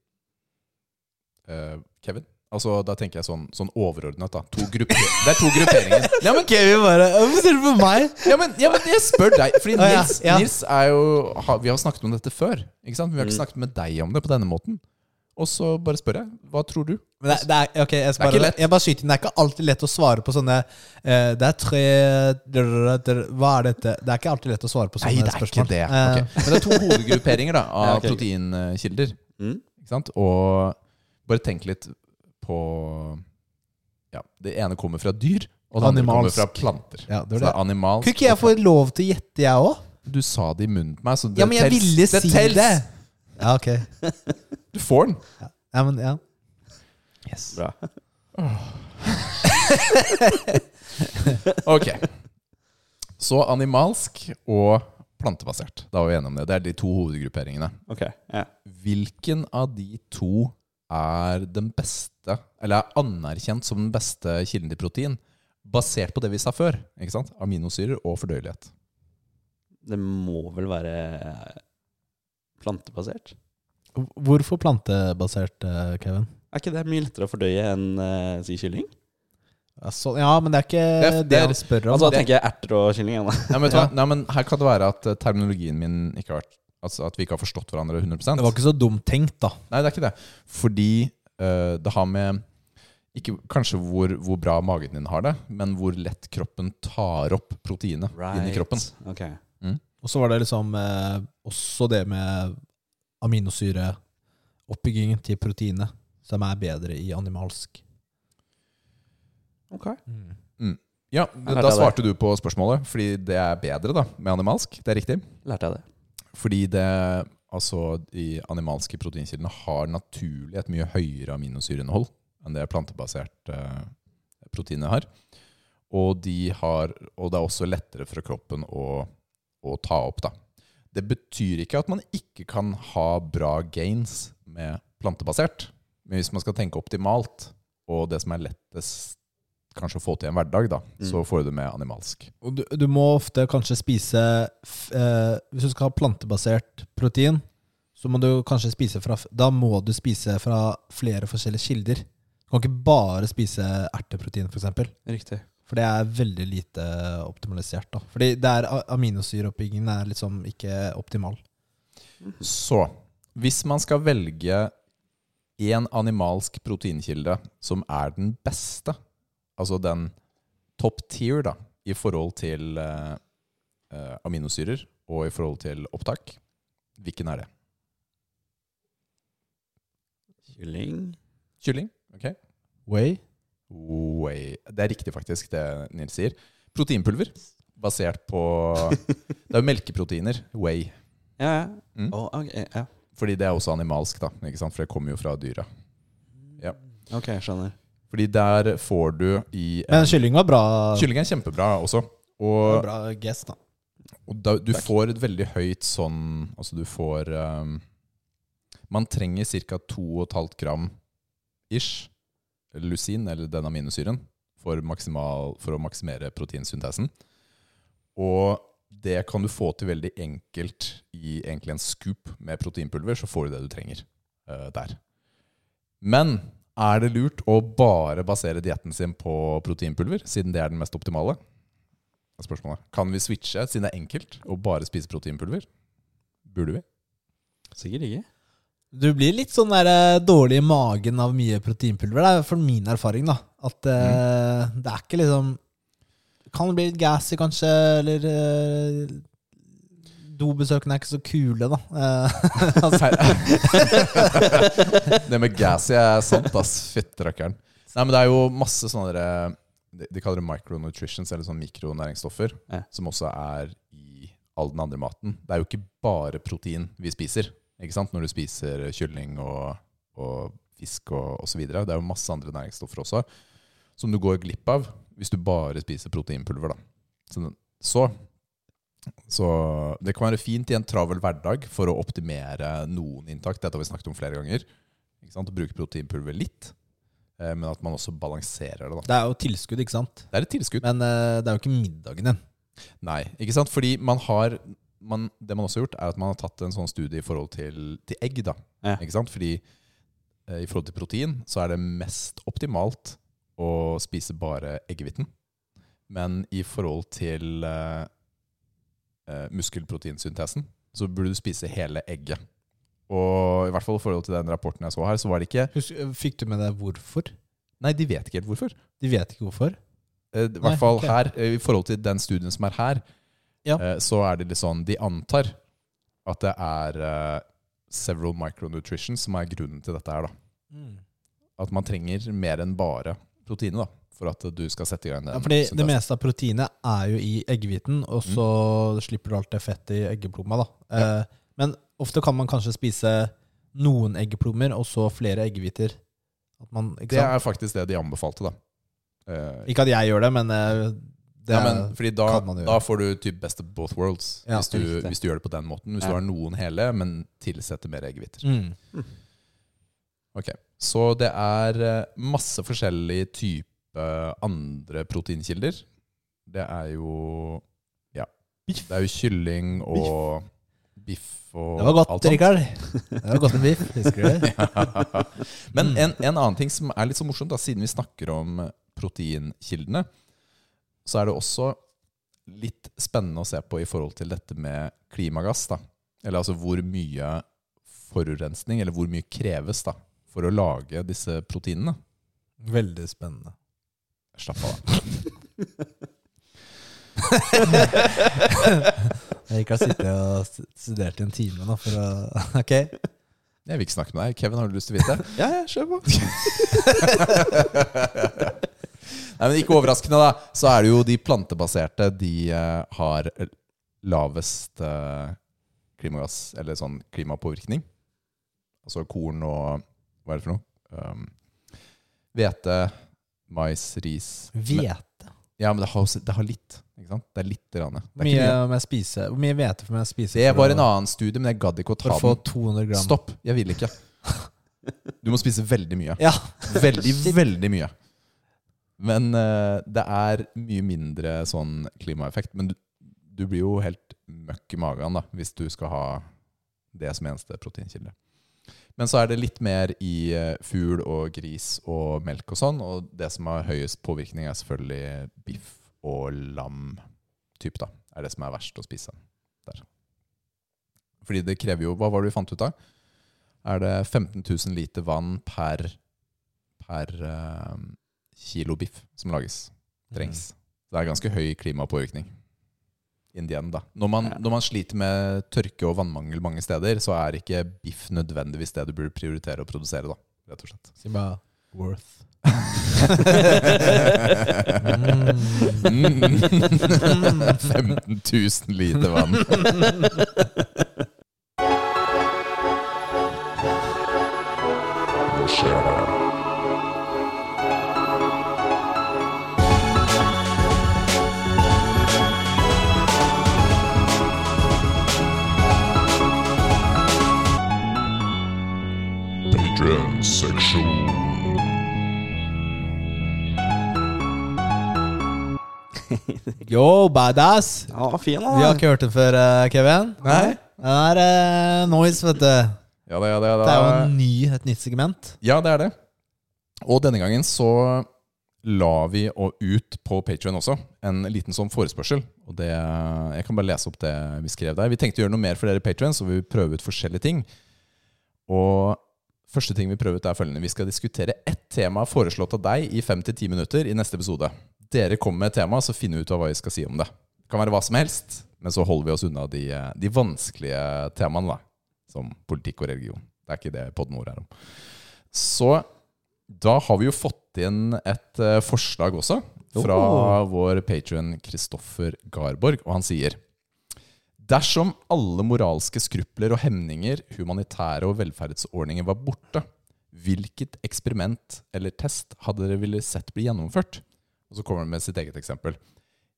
Eh, Kevin? Altså, da tenker jeg sånn, sånn overordnet, da. To gruppe- det er to grupperinger. Ja, men, Kevin bare Hvorfor ser du på meg? ja, men, ja, men jeg spør deg, fordi Å, ja, Nils, ja. Nils er jo har, Vi har snakket om dette før, ikke sant? Men vi har ikke Mm. snakket med deg om det på denne måten. Og så bare spør jeg. Hva tror du? Men det, det, er, ok, Det er jeg, skal ikke bare, lett. jeg bare skyter inn. Det er ikke alltid lett å svare på sånne eh, Det er tre Hva er dette? Det er ikke alltid lett å svare på sånne spørsmål. Ok. Eh, Men det er to hovedgrupperinger da, av Ja, ok, ok. proteinkilder. Mm. Ikke sant? Og bare tenk litt på Ja, det ene kommer fra dyr, og det andre kommer Animalsk. fra planter. Ja, det Så var det det. er animalsk. Kunne ikke jeg få lov til å gjette, jeg òg? Du sa det i munnen på meg, så det Ja, men jeg tels. ville si det. tels. Ja, ok. Du får den. Ja, men, ja. Bra. Ok. Så animalsk og plantebasert. Da var vi enige om det. Det er de to hovedgrupperingene. Ok. Ja. Hvilken av de to er den beste, eller er anerkjent som den beste kilden til protein, basert på det vi sa før? ikke sant? Aminosyrer og fordøyelighet. Det må vel være plantebasert? Hvorfor plantebasert, eh, Kevin? Er ikke det mye lettere å fordøye enn eh, si kylling? Ja, så- Altså, ja, men det er Det ikke er- det, det er- han spør om. Altså, da det- tenker jeg erter og kylling. igjen, da. Nei, men, vet du hva? Ja. Nei, men Her kan det være at eh, terminologien min ikke har vært Altså At vi ikke har forstått hverandre 100 det var ikke så dumt tenkt, da. Nei, det er ikke det. Fordi eh, det har med ikke kanskje hvor, hvor bra magen din har det, men hvor lett kroppen tar opp proteinet inn i kroppen. Ok. Og så var det liksom eh, også det med aminosyreoppbyggingen til proteinet, som er bedre i animalsk. Mm. Ok. Ja, lærte Da jeg svarte du på spørsmålet, fordi det er bedre da med animalsk. Det er riktig. Lærte jeg det. Fordi det Altså, de animalske proteinkildene har naturlig et mye høyere aminosyreinnhold enn det plantebasert eh, proteinet har. Og, de har. og det er også lettere for kroppen å, å ta opp, da. Det betyr ikke at man ikke kan ha bra gains med plantebasert. Men hvis man skal tenke optimalt, og det som er lettest kanskje å få til i en hverdag, da, Mm. så får du det med animalsk. Og du, du må ofte kanskje spise f- eh, Hvis du skal ha plantebasert protein, så må du kanskje spise fra f- Da må du spise fra flere forskjellige kilder. Du kan ikke bare spise erteprotein, f.eks. For, eksempel, Riktig. for det er veldig lite optimalisert. da Fordi det er a- aminosyreoppbyggingen er liksom ikke optimal. Så hvis man skal velge én animalsk proteinkilde som er den beste, altså den top tier da, i forhold til eh, eh, aminosyrer og i forhold til opptak, hvilken er det? Kylling. Kylling? Ok. Way? Whey. Det er riktig, faktisk, det Nils sier. Proteinpulver. basert på Det er jo melkeproteiner. Whey. Ja, ja. Mm. Å, ok, ja. Fordi det er også animalsk, da. Ikke sant? For det kommer jo fra dyra. ok, skjønner. Fordi der får du i en- Men kylling var bra. Kylling er kjempebra også. var Og, bra guess, da. og da, du Takk. får et veldig høyt sånn Altså, du får ehm, Man trenger ca. 2,5 gram ish lusin, eller den aminosyren, for, maksimal, for å maksimere proteinsyntesen. Og det kan du få til veldig enkelt i egentlig en scoop med proteinpulver, så får du det du trenger eh, der. Men er det lurt å bare basere dietten sin på proteinpulver, siden det er den mest optimale? Det er Spørsmålet. Kan vi switche, siden det er enkelt, og bare spise proteinpulver? Burde vi? Sikkert ikke. Du blir litt sånn der, eh, dårlig i magen av mye proteinpulver. Det er for min erfaring, da. At eh, det er ikke liksom Kan bli litt gassy, kanskje, eller eh, Dobesøkene er ikke så kule, da. Eh, altså, det med gassy er sant, ass. Fytte rakkeren. Nei, men det er jo masse sånne der, eh, de- De kaller det micronutritions, eller sånn mikronæringsstoffer, Ja. som også er i all den andre maten. Det er jo ikke bare protein vi spiser, ikke sant? Når du spiser kylling og, og fisk og osv. Det er jo masse andre næringsstoffer også, som du går glipp av hvis du bare spiser proteinpulver, da. Så, den- så så det kan være fint i en travel hverdag for å optimere noen inntak. Dette har vi snakket om flere ganger. Ikke sant? Å bruke proteinpulver litt, eh, men at man også balanserer det. da. det er jo tilskudd, ikke sant? Det er et tilskudd. Men eh, det er jo ikke middagen din. Nei, ikke sant? Fordi man har man, Det man også har gjort, er at man har tatt en sånn studie i forhold til, til egg. da. Ja. Ikke sant? Fordi eh, i forhold til protein så er det mest optimalt å spise bare eggehviten. Men i forhold til eh, eh, muskelproteinsyntesen så burde du spise hele egget. Og i hvert fall i forhold til den rapporten jeg så her, så var det ikke Husk, fikk du med deg hvorfor? Nei, de vet ikke helt hvorfor. De vet ikke hvorfor. Eh, I Nei, hvert fall ok. her, eh, i forhold til den studien som er her, Ja. eh, så er det litt sånn De antar at det er eh, several micronutrition som er grunnen til dette her. da. Mm. At man trenger mer enn bare proteinet da, for at du skal sette i gang den. Ja, fordi det syntesen. meste av proteinet er jo i eggehviten, og Mm. så slipper du alt det fettet i eggeplomma. da. Eh, men ofte kan man kanskje spise noen eggeplommer, og så flere eggehviter. At man, ikke, det sant? er faktisk det de anbefalte, da. Eh, ikke at jeg gjør det, men eh, det ja, er men, fordi da, kan man gjøre. da får du typ best of both worlds, Ja, hvis, du, riktig. hvis du gjør det på den måten. Hvis Ja. du har noen hele, men tilsetter mer eggehviter. mm. Ok, så det er eh, masse forskjellige type andre proteinkilder. Det er jo Ja. Biff. Det er jo kylling og biff, og Det var godt, sånt. Rikard. Det var godt med biff. Husker du det? Mm. Men en, en annen ting som er litt så morsomt, da, siden vi snakker om proteinkildene, så er det også litt spennende å se på i forhold til dette med klimagass. Da. Eller altså hvor mye forurensning, eller hvor mye kreves da, for å lage disse proteinene. Veldig spennende. Slapp av, da. Rikard sitter og st- studerte i en time nå for å Ok. Jeg vil ikke snakke med deg. Kevin, har du lyst til å vite? Ja, ja, kjør på. Nei, men Ikke overraskende, da, så er det jo de plantebaserte de eh, har lavest eh, klimagass, eller sånn klimapåvirkning. Altså korn og Hva er det for noe? Um, Hvete, mais, ris Men- Hvete. Ja, men det har, også- det har litt. Ikke sant? Det er litt. Rann, det, Hvor er ikke mye mye. må jeg spise? Hvor mye hvete får jeg spise? det for var å- en annen studie, men jeg gadd ikke å For ta å få den. 200 gram. Stopp. Jeg vil ikke. Du må spise veldig mye. Ja. Veldig, veldig mye. Men eh, det er mye mindre sånn klimaeffekt. Men du, du blir jo helt møkk i magen da, hvis du skal ha det som eneste proteinkilde. Men så er det litt mer i eh, fugl og gris og melk og sånn. Og det som har høyest påvirkning, er selvfølgelig biff og lam. Typ, da, er det som er verst å spise der. Fordi det krever jo Hva var det vi fant ut av? Er det 15 000 liter vann per per eh, kilo biff som lages. Mhm. Trengs. Det er ganske høy klimapåvirkning. Indien, da. Når man, Ja. når man sliter med tørke og vannmangel mange steder, så er ikke biff nødvendigvis det du burde prioritere å produsere, da. Rett og slett. Si bare Worth. Mm. Mm. 15 000 liter vann. Yo, badass! Ja, fin Vi har ikke hørt den før, eh, Kevin. Nei? Det er eh, noise, vet du. Ja, det, ja, det, ja, Det er jo det. en ny, et nytt segment. ja, det er det. Og denne gangen så la vi å- ut på Patrion også en liten sånn forespørsel. Og det, jeg kan bare lese opp det vi skrev der. Vi tenkte å gjøre noe mer for dere Patrion, så vi vil prøve ut forskjellige ting. Og første ting vi prøver ut, er følgende. Vi skal diskutere ett tema foreslått av deg i fem til ti minutter i neste episode. Dere kommer med et tema, så finner vi ut av hva vi skal si om det. Det kan være hva som helst, men så holder vi oss unna de, eh, de vanskelige temaene, da. Som politikk og religion. Det er ikke det podden vår er om. Så da har vi jo fått inn et eh, forslag også, fra vår patrion Kristoffer Garborg, og han sier Dersom alle moralske skrupler og hemninger, humanitære og velferdsordninger var borte, hvilket eksperiment eller test hadde dere ville sett bli gjennomført? Og så kommer han med sitt eget eksempel.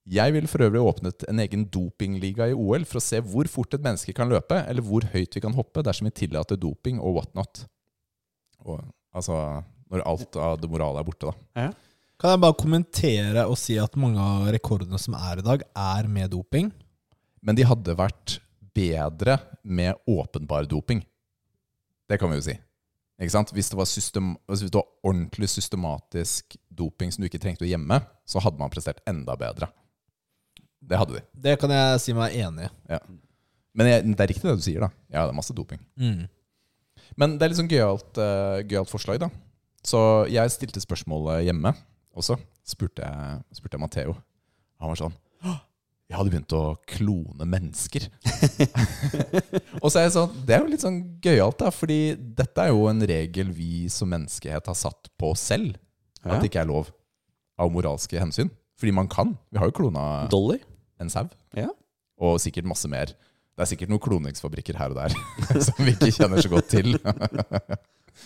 Jeg ville for øvrig åpnet en egen dopingliga i OL for å se hvor fort et menneske kan løpe, eller hvor høyt vi kan hoppe dersom vi tillater doping og whatnot. Og, altså når alt av det morale er borte, da. Kan jeg bare kommentere og si at mange av rekordene som er i dag, er med doping? Men de hadde vært bedre med åpenbar doping. Det kan vi jo si. Ikke sant? Hvis det var, system, hvis det var ordentlig systematisk doping som du ikke trengte å gjemme, så hadde man prestert enda bedre. Det hadde de. Det kan jeg si meg enig i. Men jeg, det er riktig det du sier, da. Ja, det er masse doping. Mm. Men det er litt sånn gøyalt eh, gøyalt forslag, da. Så jeg stilte spørsmålet hjemme også. Spurte jeg, spurte jeg Matteo. Han var sånn «Åh, Jeg hadde begynt å klone mennesker. og så er jeg sånn Det er jo litt sånn gøyalt, da. Fordi dette er jo en regel vi som menneskehet har satt på oss selv. Ja. At det ikke er lov av moralske hensyn. Fordi man kan. Vi har jo klona Dolly? en sau. Ja. Og sikkert masse mer. Det er sikkert noen kloningsfabrikker her og der som vi ikke kjenner så godt til.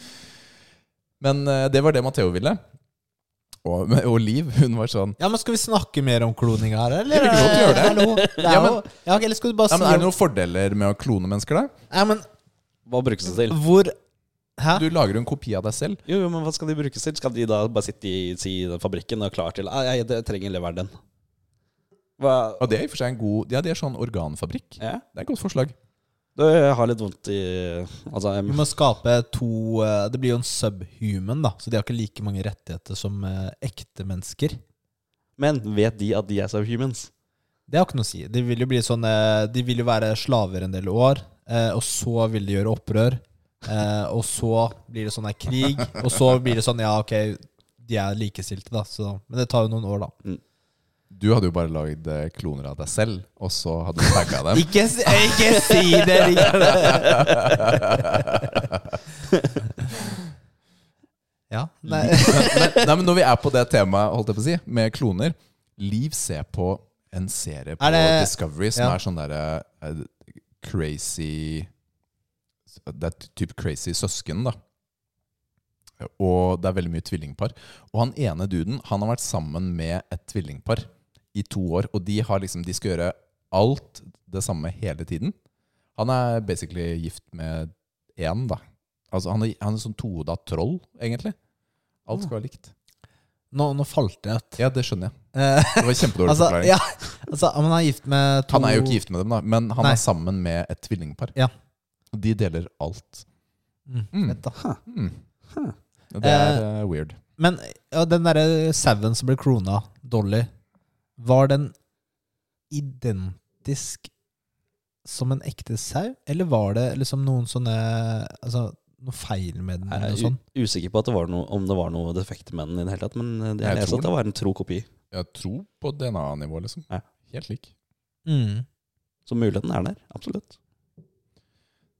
Men eh, det var det Matheo ville. Og, og Liv, hun var sånn Ja, men Skal vi snakke mer om kloning her, eller? Vi kan godt gjøre det. Hallo? det er Ja, men- jo- ja, ok, eller skal du bare ja, si men Er det om- noen fordeler med å klone mennesker, da? ja, men Hva brukes det til? hvor Hæ? Du lager jo en kopi av deg selv. Jo, jo, men hva skal de brukes til? Skal de da bare sitte i, si, i den fabrikken og klare til «Nei, jeg, jeg trenger leveren din. Hva? Og det er i og for seg en god Ja, det er sånn organfabrikk. Ja? Det er et godt forslag. Du, jeg har litt vondt i Altså, Vi jeg, må skape to eh, Det blir jo en subhuman, da. Så de har ikke like mange rettigheter som eh, ekte mennesker. men vet de at de er subhumans? Det har ikke noe å si. De vil jo, bli sånne, de vil jo være slaver en del år, eh, og så vil de gjøre opprør. Eh, og så blir det sånn her krig, og så blir det sånn ja, ok, de er likestilte, da. Så, men det tar jo noen år, da. Du hadde jo bare lagd eh, kloner av deg selv, og så hadde du tagga dem. Ikke, si- ikke si det! Rikard. Ja, nei. Mm. Nei, men Når vi er på det temaet, holdt jeg på å si, med kloner Liv ser på en serie på Er det- Discovery som Ja. er sånn derre eh, crazy Det er typ crazy søsken, da. Og det er veldig mye tvillingpar. Og han ene duden han har vært sammen med et tvillingpar i to år. Og de, har liksom, de skal gjøre alt det samme hele tiden. Han er basically gift med én, da. Altså, han, er, han er sånn tohoda troll, egentlig. Alt skal være likt. Nå, nå falt det ut. Ja, det skjønner jeg. Eh, Det var en kjempedårlig altså, forklaring. ja, altså, han er gift med to Han er jo ikke gift med dem, da, men han Nei. er sammen med et tvillingpar. Ja. Og De deler alt. Mm, Mm. vet da. Mm. Og Det er eh, weird. Men ja, den derre sauen som ble krona, Dolly, var den identisk som en ekte sau? Eller var det liksom noen sånne Altså noe feil med den? eller Jeg noe er sånt? u- usikker på at det var noe, om det var noe defekt med den i det hele tatt, men jeg, Jeg jeg leste tror at det var en tro kopi. Jeg tror på DNA-nivå, liksom. Ja. Helt lik. Mm. Så muligheten er der, absolutt.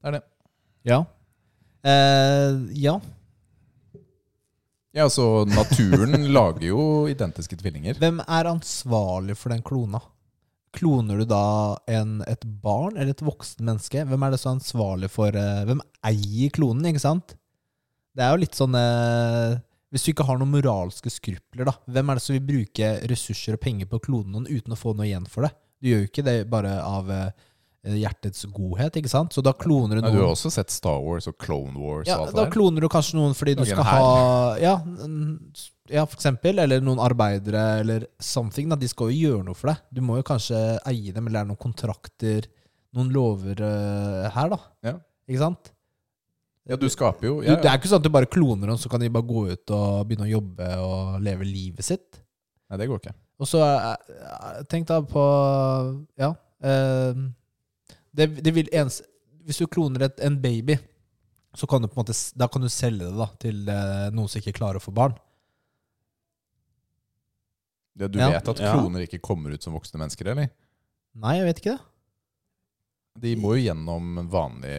Det er det. Ja. Eh, ja. Ja, altså Naturen lager jo identiske tvillinger. Hvem er ansvarlig for den klona? Kloner du da en, et barn eller et voksen menneske? Hvem er det som er ansvarlig for eh, Hvem eier klonen, ikke sant? Det er jo litt sånn eh, Hvis du ikke har noen moralske skrupler, da, hvem er det som vil bruke ressurser og penger på å klone noen uten å få noe igjen for det? Du gjør jo ikke det bare av eh, hjertets godhet, ikke sant? Så da kloner du Nei, du har noen også sett Star Wars og Clone Wars ja, og alt da det der. kloner du kanskje noen fordi du Lage en skal ha ja, n- ja, for eksempel. Eller noen arbeidere eller something. Da. De skal jo gjøre noe for deg. Du må jo kanskje eie dem, eller det er noen kontrakter, noen lover eh, her, da. Ja. Ikke sant? Ja, du skaper jo Du, ja, det ja. er ikke sånn at du bare kloner dem, så kan de bare gå ut og begynne å jobbe og leve livet sitt. Nei, det går ikke. Og så eh, tenk da på Ja. eh, det, det vil ens, hvis du kloner et, en baby, så kan du på en måte s- Da kan du selge det da til eh, noen som ikke klarer å få barn. Ja, du Ja. vet at Ja. kloner ikke kommer ut som voksne mennesker, eller? Nei, jeg vet ikke det. De må jo gjennom en vanlig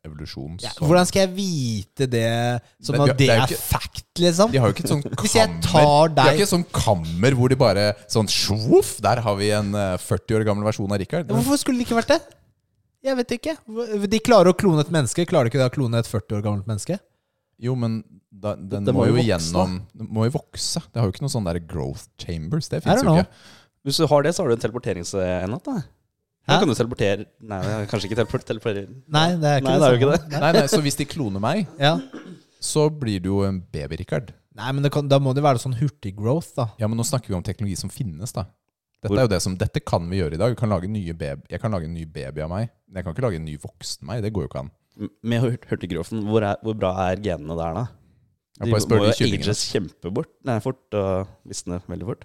evolusjon. Ja, så- hvordan skal jeg vite det som Det- at det- det det er jo er ikke- fact, liksom? De har jo ikke et sånt Hvis jeg kammer. tar De har deg ikke et sånt kammer hvor de bare sånn sjoff, Der har vi en eh, 40 år gammel versjon av Richard. Hvorfor skulle det ikke vært det? Jeg vet ikke. Hvor- De klarer å klone et menneske. Klarer de ikke det å klone et 40 år gammelt menneske? Jo, men da, den Det må, må jo jo vokse, gjennom Den må jo vokse. Det har jo ikke noe sånn der growth chambers. Det I fins don't jo know. ikke. Hvis du har det, så har du en teleporteringsenhet, da. Hæ? Da kan du teleportere Nei, det er kanskje ikke teleport, teleportere Nei, det er ikke Nei, det er jo ikke samme. Nei, nei, Så hvis de kloner meg, Ja. så blir det jo en baby-Richard. Nei, men det kan, da må det være sånn hurtig-growth, da. Ja, men nå snakker vi om teknologi som finnes, da. Dette Hvor- er jo det som, dette kan vi gjøre i dag. Vi kan lage nye baby, jeg kan lage en ny baby av meg. Men jeg kan ikke lage en ny voksen meg. Det går jo ikke an. M- Med hurt- hurtiggrofen, hvor, er- hvor bra er genene der, da? Jeg De bare spør de må jo kyllingene. ages kjempebort. Nei, fort og visne veldig fort.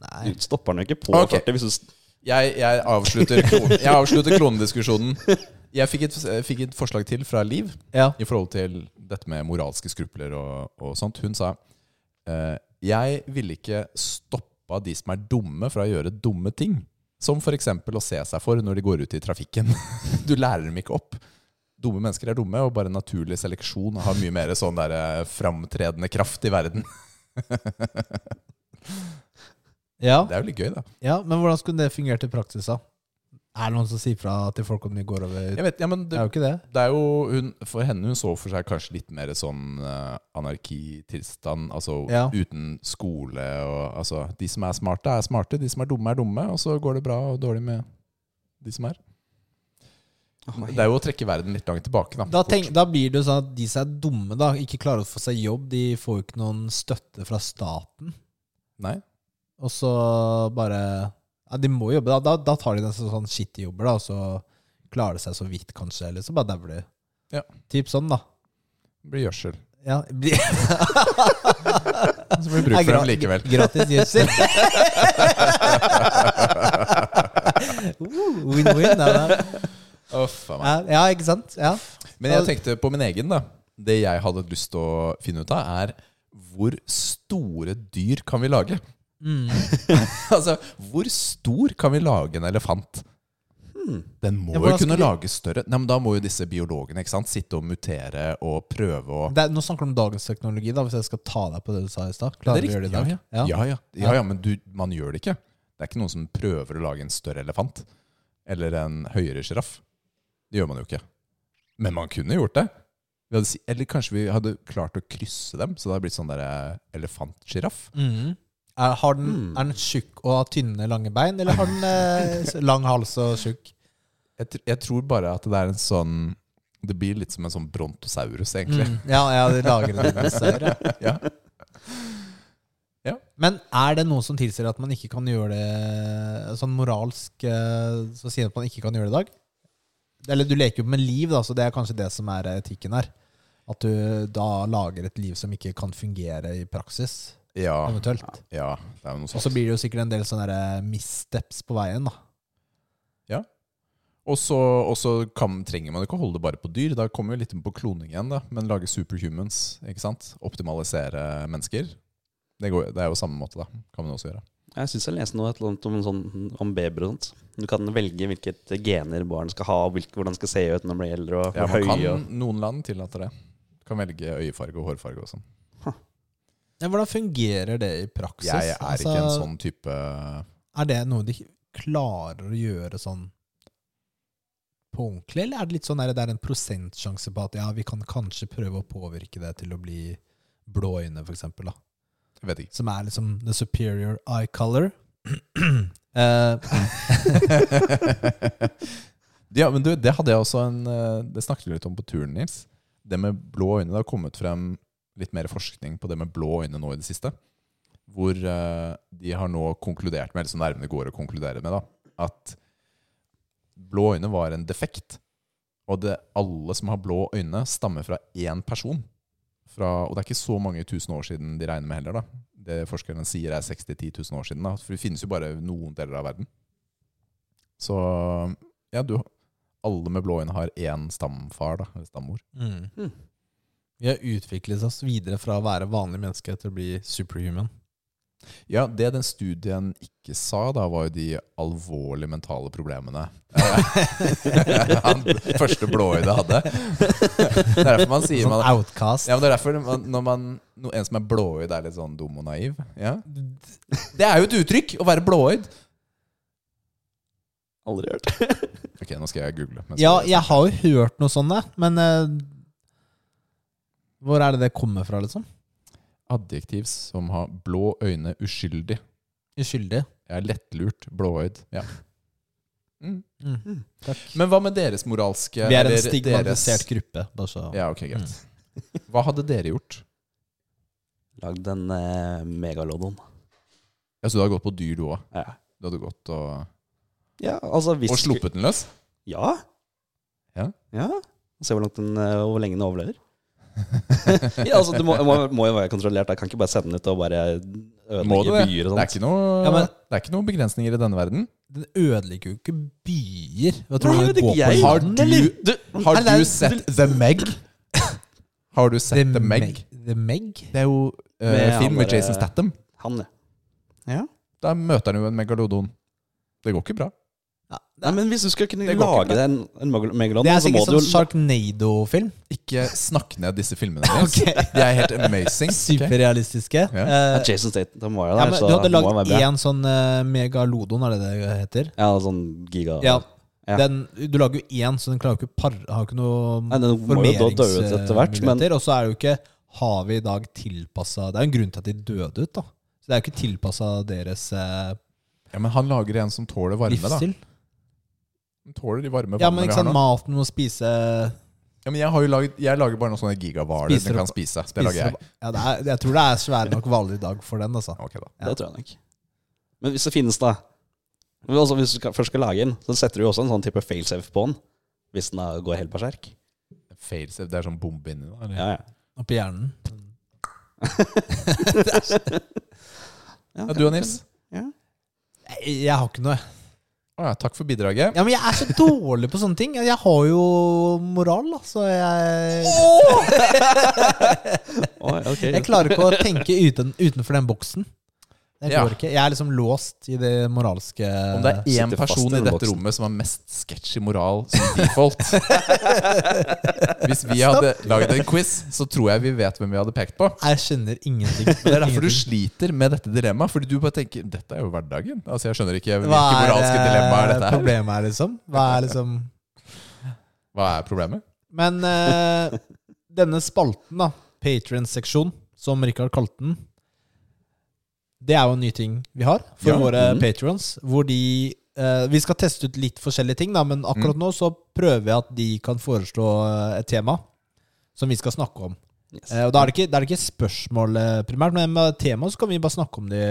Nei. Du stopper den jo ikke på Ok. 40 hvis du s- Jeg, jeg avslutter, klon, jeg avslutter klonediskusjonen. Jeg fikk et, fikk et forslag til fra Liv Ja. i forhold til dette med moralske skrupler og, og sånt. Hun sa eh, jeg ville ikke stoppa de som er dumme, fra å gjøre dumme ting. Som f.eks. å se seg for når de går ut i trafikken. Du lærer dem ikke opp. Dumme mennesker er dumme, og bare naturlig seleksjon har mye mer sånn der eh, framtredende kraft i verden. Ja. Det er jo litt gøy, da. ja, men hvordan skulle det fungert i praksis, da? Er det noen som sier fra til folk om de går over Jeg vet, ja, men Det det, er jo ikke det. det er jo hun, For henne hun så for seg kanskje litt mer sånn eh, anarkitilstand, altså Ja. uten skole og Altså, de som er smarte, er smarte, de som er dumme, er dumme, og så går det bra og dårlig med de som er. Det er jo å trekke verden litt langt tilbake, da. Da, tenk, da blir det jo sånn at de som er dumme, da, ikke klarer å få seg jobb. De får jo ikke noen støtte fra staten. Nei. Og så bare ja, De må jobbe. Da, da, da tar de nesten sånn skittige jobber, da, og så klarer det seg så vidt, kanskje. Eller så bare dauer de. Ja. Typ sånn, da. Det blir gjødsel. Ja, bli- Så blir det bruk for Gra- dem likevel. Gratis gjødsel. Uh, Win-win. da, da. Uff, a meg. Ja, ja, ikke sant? Ja. Men jeg tenkte på min egen, da. Det jeg hadde lyst til å finne ut av, er hvor store dyr kan vi lage? Mm. altså, hvor stor kan vi lage en elefant? Den må Hmm. Ja, jo kunne hvordan skal vi- lages større. Nei, men da må jo disse biologene ikke sant? sitte og mutere og prøve å Det er, nå snakker du om dagens teknologi, da, hvis jeg skal ta deg på det du sa i stad. Klarer vi å gjøre det i dag? Ja, ja. Ja, ja. ja, ja men du, man gjør det ikke. Det er ikke noen som prøver å lage en større elefant. Eller en høyere sjiraff. Det gjør man jo ikke. Men man kunne gjort det. Vi hadde, si- eller kanskje vi hadde klart å krysse dem, så det hadde blitt sånn der eh, elefantsjiraff. Mhm. Er, har den, Mm. er den tjukk og har tynne, lange bein, eller har den eh, s- lang hals og tjukk? Jeg, tr- jeg tror bare at det er en sånn Det blir litt som en sånn brontosaurus, egentlig. Mm. Ja, ja, de lager en dinosaur. ja. Ja. Men er det noe som tilsier at man ikke kan gjøre det sånn moralsk eh, Så sier man at man ikke kan gjøre det i dag? Eller du leker jo med liv, da, så det er kanskje det som er etikken her. At du da lager et liv som ikke kan fungere i praksis, Ja, eventuelt. ja, det er jo noe Og så sånt. blir det jo sikkert en del sånne der eh, missteps på veien, da. Og så og så kan- trenger man ikke å holde det bare på dyr. Da kommer vi litt inn på kloning igjen, da. Men lage superhumans. ikke sant? Optimalisere mennesker. Det, går, det er jo samme måte, da. Kan man også gjøre. Jeg syns jeg leste noe et eller annet om, en sånn, om babyer og sånt. Du kan velge hvilket gener barn skal ha, og hvilke, hvordan de skal se ut når de blir eldre. Og Ja, hvor man høye og kan, noen land tillater det. Du kan velge øyefarge og hårfarge og sånn. Ja, hvordan fungerer det i praksis? Jeg er Altså, ikke en sånn type Er det noe de klarer å gjøre sånn på ordentlig, eller er det litt sånn der, det er en prosentsjanse på at ja, vi kan kanskje prøve å påvirke det til å bli blå øyne, for eksempel, da. jeg Vet ikke. Som er liksom the superior eye color. Eh, ja, men du, det hadde jeg også en eh, Det snakket vi litt om på turen, Nils. Det med blå øyne. Det har kommet frem litt mer forskning på det med blå øyne nå i det siste. Hvor eh, de har nå konkludert med, eller så nærmere går å konkludere med, da, at blå øyne var en defekt. Og det, alle som har blå øyne, stammer fra én person. Fra, og det er ikke så mange tusen år siden de regner med heller. da. Det forskerne sier er 60 000-10 000 år siden. da. For det finnes jo bare noen deler av verden. Så ja, du Alle med blå øyne har én stamfar, da. Eller stammor. mm. Hmm. Vi har utviklet oss videre fra å være vanlige mennesker til å bli superhuman. Ja, det den studien ikke sa, da, var jo de alvorlig mentale problemene han første blåøyde hadde. Det er derfor man sier Sånn man outcast. ja, men det er derfor man, når man, no, en som er blåøyd, er litt sånn dum og naiv. Ja. Det er jo et uttrykk! Å være blåøyd. Aldri hørt. Ok, nå skal jeg google. mens Ja, du- jeg har jo hørt noe sånt, der, men eh, hvor er det det kommer fra, liksom? Adjektiv som har blå øyne, uskyldig. Uskyldig. Jeg er lettlurt, blåøyd. Ja. Mm. Mm. Takk. Men hva med deres moralske Vi er en eller stigmatisert gruppe. Bare så. Mm. Deres, ja, ok, greit. Hva hadde dere gjort? Lagd en eh, megalodon. Ja, så du hadde gått på dyr, du òg? Ja. Du hadde gått og, ja, altså hvis og sluppet den løs? Ja. Ja. Se hvor langt den, eh, hvor lenge den overlever. ja, altså, det må, må, må jo være kontrollert. Jeg kan ikke bare sende den ut og bare Må du det? Det ødelegge byer og er, sånt. ikke noe, Ja, men- det er ikke noen begrensninger i denne verden. Den ødelegger jo ikke byer. Hva Nei, tror men du det det går på? er ikke jeg. Har land, du, eller? har Nei, det er- du sett The Meg? Har du sett The, Meg? The Meg? Det er jo eh, Med han film med derre- Jason Statham. Han, ja. Da møter han jo en megalodon. Det går ikke bra. Ja, Nei, men hvis du skal kunne Det går ikke, lage deg en, en megal- megalodon, det er så må sikkert du jo sånn Sharknado-film. Ikke snakk ned disse filmene deres. De er helt amazing. Ok. Superrealistiske. Ja. Eh, ja, Jason Statham var jo ja, der, men så du hadde han må være lagd bra. én sånn eh, megalodon, er det det heter? Ja, sånn giga Ja. Ja. Den, du lager jo én, så den klarer jo ikke par, har ikke noe Nei, den må jo da dø ut etter hvert, men formeringsmuligheter. Og så er det jo ikke Har vi i dag tilpassa Det er jo en grunn til at de døde ut, da. Så det er jo ikke tilpassa deres eh, Ja, men han lager en som tåler varme, da. livsstil. Den tåler de varme Ja, vannene men vi ikke har sant, nå. maten må spise Ja, men jeg, har jo laget, jeg lager bare noen sånne gigavaler Spiser den kan opp- spise. Det lager jeg. Ja, det er, Jeg tror det er svære nok hvaler i dag for den, altså. Ja, ok da. Ja. det tror jeg nok. Men hvis det finnes, da men altså, Hvis du skal, først skal lage den, så setter du jo også en sånn type failsafe på den. Hvis den da går helt berserk. Failsafe, det er sånn bombe inni da? eller? Ja, ja. Oppi hjernen. Ja, Ja, du og Nils? Jeg, jeg har ikke noe. Å ja, takk for bidraget. Ja, men jeg er så dårlig på sånne ting. Jeg har jo moral, da, så jeg Oi, ok. Jeg klarer ikke å tenke uten, utenfor den boksen. Jeg, Ja. går ikke. jeg er liksom låst i det moralske Om det er én Eh, Sitter fast i person i den dette boksen. rommet som har mest sketchy moral som default Hvis vi hadde lagd en quiz, så tror jeg vi vet hvem vi hadde pekt på. Jeg skjønner ingenting. Det er derfor du Ingenting. sliter med dette dilemmaet. Fordi du bare tenker dette er jo hverdagen. Altså, Jeg skjønner ikke hvilke Hva er moralske dilemmaer eh, dette er. problemet her, liksom? Hva er liksom Hva er problemet? Men eh, denne spalten, da, Patrion-seksjon, som Richard kalte den, det er jo en ny ting vi har for Ja, Mm. våre mhm. patrons. Hvor de eh, Vi skal teste ut litt forskjellige ting, da, men akkurat Mm. nå så prøver jeg at de kan foreslå eh, et tema som vi skal snakke om. Yes. Eh, og da er, det ikke, da er det ikke spørsmål eh, primært, men med temaet så kan vi bare snakke om det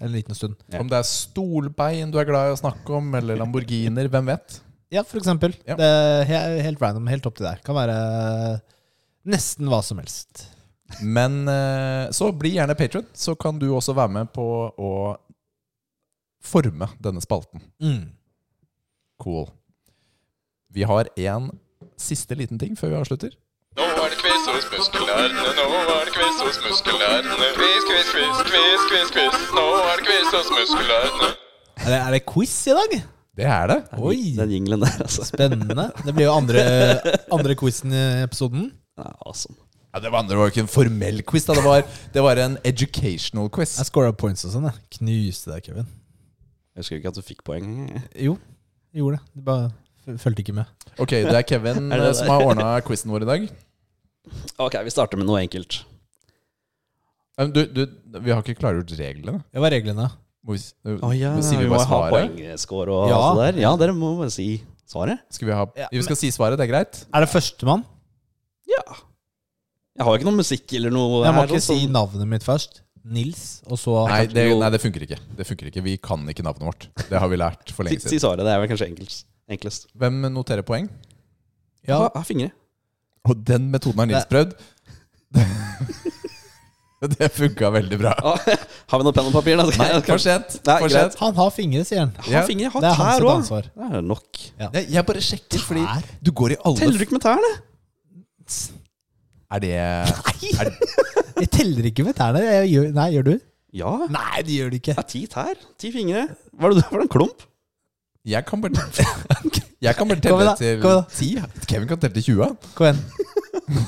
en liten stund. Ja. Om det er stolbein du er glad i å snakke om, eller Lamborghiner, hvem vet? Ja, for eksempel. Ja. Det er he- helt random, helt opp til deg. Kan være eh, nesten hva som helst. Men eh, så bli gjerne patron, så kan du også være med på å forme denne spalten. Mm. Cool. Vi har en siste liten ting før vi avslutter. Nå er det quiz hos muskelnerdene, nå er det quiz hos muskelnerdene. Quiz, quiz, quiz, quiz, quiz, quiz. Nå er det quiz hos muskelnerdene. Er det, er det quiz i dag? Det er det. Oi! Den jinglen der, altså. Spennende. Det blir jo andre, andre quizen i episoden. Den er awesome. Ja, Ja, det var, det var jo ikke en formell quiz, da. Det var, det var en educational quiz. Jeg scora points og sånn. jeg Knuste deg, Kevin. Jeg husker ikke at du fikk poeng. Jo, jeg gjorde det. Du bare f- fulgte ikke med. Ok, det er Kevin Er det eh, det? som har ordna quizen vår i dag. Ok, vi starter med noe enkelt. Eh, Du, du, vi har ikke klargjort reglene. Det var reglene. Må vi, s- eh, Å ja, sier vi må bare ha svaret? poengscore og Ja. alt det der. Ja, dere må bare si svaret. Skal vi, ha, Ja, vi skal si svaret, det er greit? Er det førstemann? Ja. Jeg har jo ikke noe musikk eller noe Jeg må her, altså. ikke så- si navnet mitt først. Nils, og så Nei det, jo- nei, det funker ikke. Det funker ikke. Vi kan ikke navnet vårt. Det har vi lært for si, lenge si siden. svaret. Det er vel kanskje enklest. enklest. Hvem noterer poeng? Ja, Ha, ha fingre. Og den metoden har Nils prøvd. Det funka veldig bra. Ah, har vi noe penn og papir? Da? Nei, for sent. Nei, For greit. sent. Han har fingre, sier han. Ha Ja, fingre, ha det er hans tær sitt òg. ansvar. Det er nok. Jeg, jeg bare sjekker, fordi Tær? du går i alle Teller du ikke med tærne? Er det er, Jeg teller ikke med tærne. Jeg gjør, nei, gjør du? Ja. Nei, det gjør du ikke. Det er ti tær. Ti fingre. Var det, var det en klump? Jeg kan bare Jeg kan bare Kom igjen telle da, til kom igjen da. ti. Kevin kan telle til 20. Kom igjen.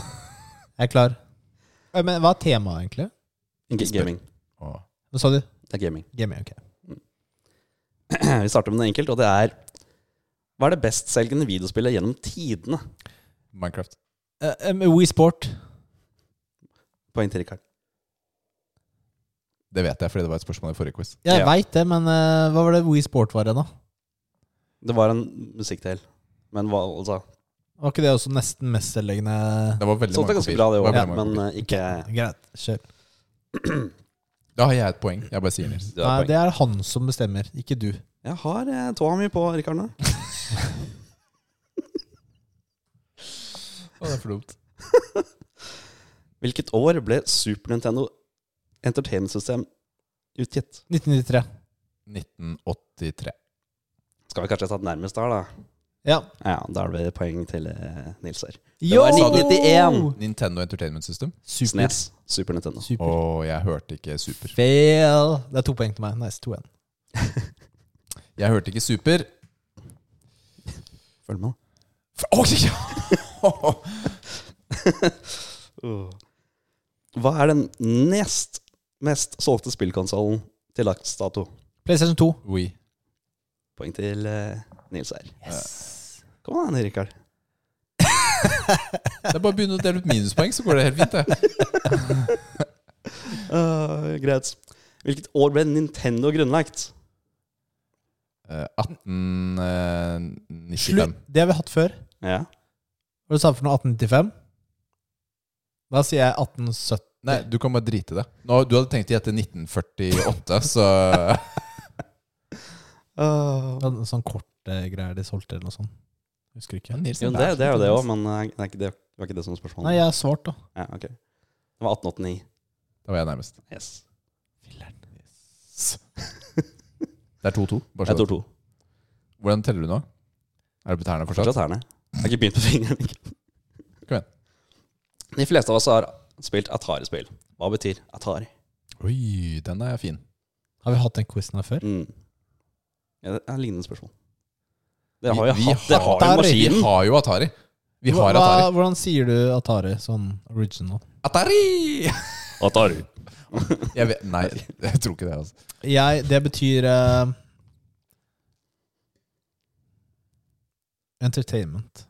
Jeg er klar. Eh, Men hva er temaet, egentlig? Ga- Gaming. Åh. Hva sa du? Det er gaming. Gaming, ok. Vi starter med noe enkelt, og det er Hva er det bestselgende videospillet gjennom tidene? Minecraft. Eh, em, Wii Sport. Poeng til Rikard. Det vet jeg, fordi det var et spørsmål i forrige quiz. Jeg Ja. veit det, men eh, hva var det Wii Sport var igjen, da? Det var en musikkdel. Men hva, altså Var ikke det også nesten mestselgende Det var veldig Sånt er mange ganske kopier. bra, var det òg, veldig mange men kopier. eh, ikke Greit, kjør. Da har jeg et poeng. Jeg bare sier Nils. det er Nei, poeng. det er han som bestemmer, ikke du. Jeg har eh, tåa mi på Rikard nå. Å, det er for dumt. Hvilket år ble Super Nintendo Entertainment System utgitt? 1993. 1983. Skal vi kanskje ha tatt nærmest der, da? Ja. Ja, da er det poeng til eh, Nils her. Yo! var 1991. altså Nintendo Entertainment System. Super. Snes. Super Nintendo. Å, Super. jeg hørte ikke Super. Fail. Det er to poeng til meg. Nice, 2-1. Jeg hørte ikke Super. Følg med, F- Å, ja! da. Uh. Hva er den nest mest solgte spillkonsollen til dags dato? PlayStation 2. Oui. Poeng til eh, Nils her. Kom an, Rikard. Det er bare å begynne å dele ut minuspoeng, så går det helt fint. det Eh, greit. Hvilket år ble Nintendo grunnlagt? Eh, 1895. Slutt. Det har vi hatt før. Ja. Hva du sa for noe? 1895? Da sier jeg 1870. Nei, du kan bare drite i det. Nå, du hadde tenkt å gjette 1948, så Det var Sånn korte greier de solgte, eller noe sånt. Husker ikke. Nils, Jo, det, det er jo det òg, men eh, det, er ikke det, det var ikke det som var spørsmålet. Nei, jeg har svart, da. Ja, ok. Det var 1889. Da var jeg nærmest. Yes. Det er 2-2. bare så Jeg det- tror to. Hvordan teller du nå? Er det på tærne fortsatt? Fortsatt herne. Jeg har ikke begynt på fingeren. ikke? Kom igjen. De fleste av oss har spilt Atari-spill. Hva betyr Atari? Oi, den er fin. Har vi hatt den quizen her før? Mm. Ja, det er et lignende spørsmål. Dere har jo Vi- vi hatt dere har jo Atari. Vi maskinen. har jo Atari. Vi har Hva- Atari. Hvordan sier du Atari sånn original? Atari! Atari. Jeg vet, nei, jeg tror ikke det. altså Jeg, det betyr eh, Entertainment.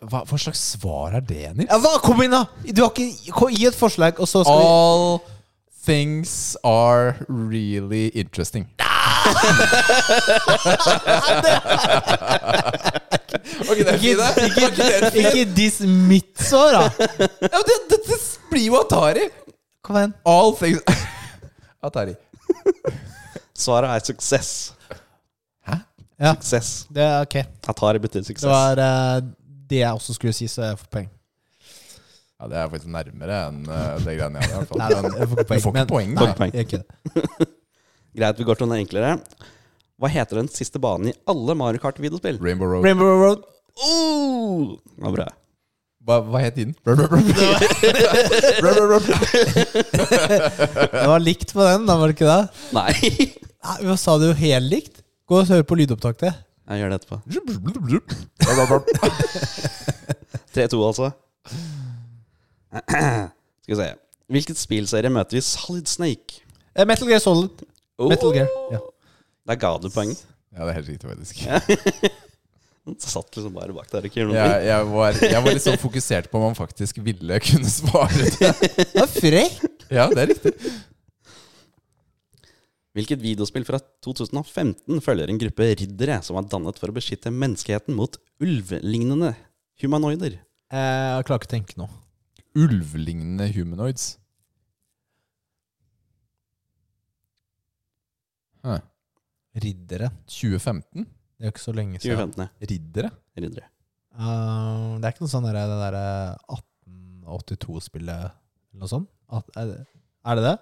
Hva, hva slags svar er det, Nils? Ja, hva? Kom inn, da! Du har ikke kom- Gi et forslag, og så skal vi All things are really interesting. ok, det er fint, det. Var ikke det fint? Ikke diss mitt svar, da! Ja, men det- Dette blir jo Atari. Kom igjen. All things Atari. Svaret er suksess. Ja, Suksess. det er ok. Atari betyr Det suksess. var eh, det jeg også skulle si, så jeg får poeng. Ja, Det er faktisk nærmere enn eh, det greiene jeg har. i hvert fall. Nei, da, Men jeg får Du ikke får ikke men- poeng, Får nei. ikke poeng. Jeg gjør ikke det. Greit, vi går til noe enklere. Hva heter den siste banen i alle Mario Kart-videospill? Rainbow Road. Rainbow Road. Oh! Det var bra. Hva, hva het den? Rup, rup, rup. Rup, rup, rup. Det var likt på den, da, var det ikke det? Nei. Jeg Nei, Hva sa du? Helt likt? Gå og hør på lydopptaket. gjør det etterpå. Rup, rup, rup. Rup, rup, rup. 3-2, altså. Skal vi se. Hvilket spillserie møter vi Solid Snake? Oh! Eh, Metal Gear Solid. Metal Gear. Ja. Der ga du poeng. Ja, det er helt riktig, faktisk. Satt liksom bare bak der og ikke gjorde noe. Jeg, jeg, var, jeg var litt sånn fokusert på om han faktisk ville kunne svare det. Det er frekk! Ja, det er riktig. Hvilket videospill fra 2015 følger en gruppe riddere som er dannet for å beskytte menneskeheten mot ulvlignende humanoider? Eh, Jeg klarer ikke å tenke nå. Ulvlignende humanoids. Hæ. Riddere. 2015? Det er jo ikke så lenge siden. 2015, ja. Riddere? Riddere. Eh, det er ikke noe sånn der, det derre 1882-spillet eller noe sånt? At, er, det, er det det?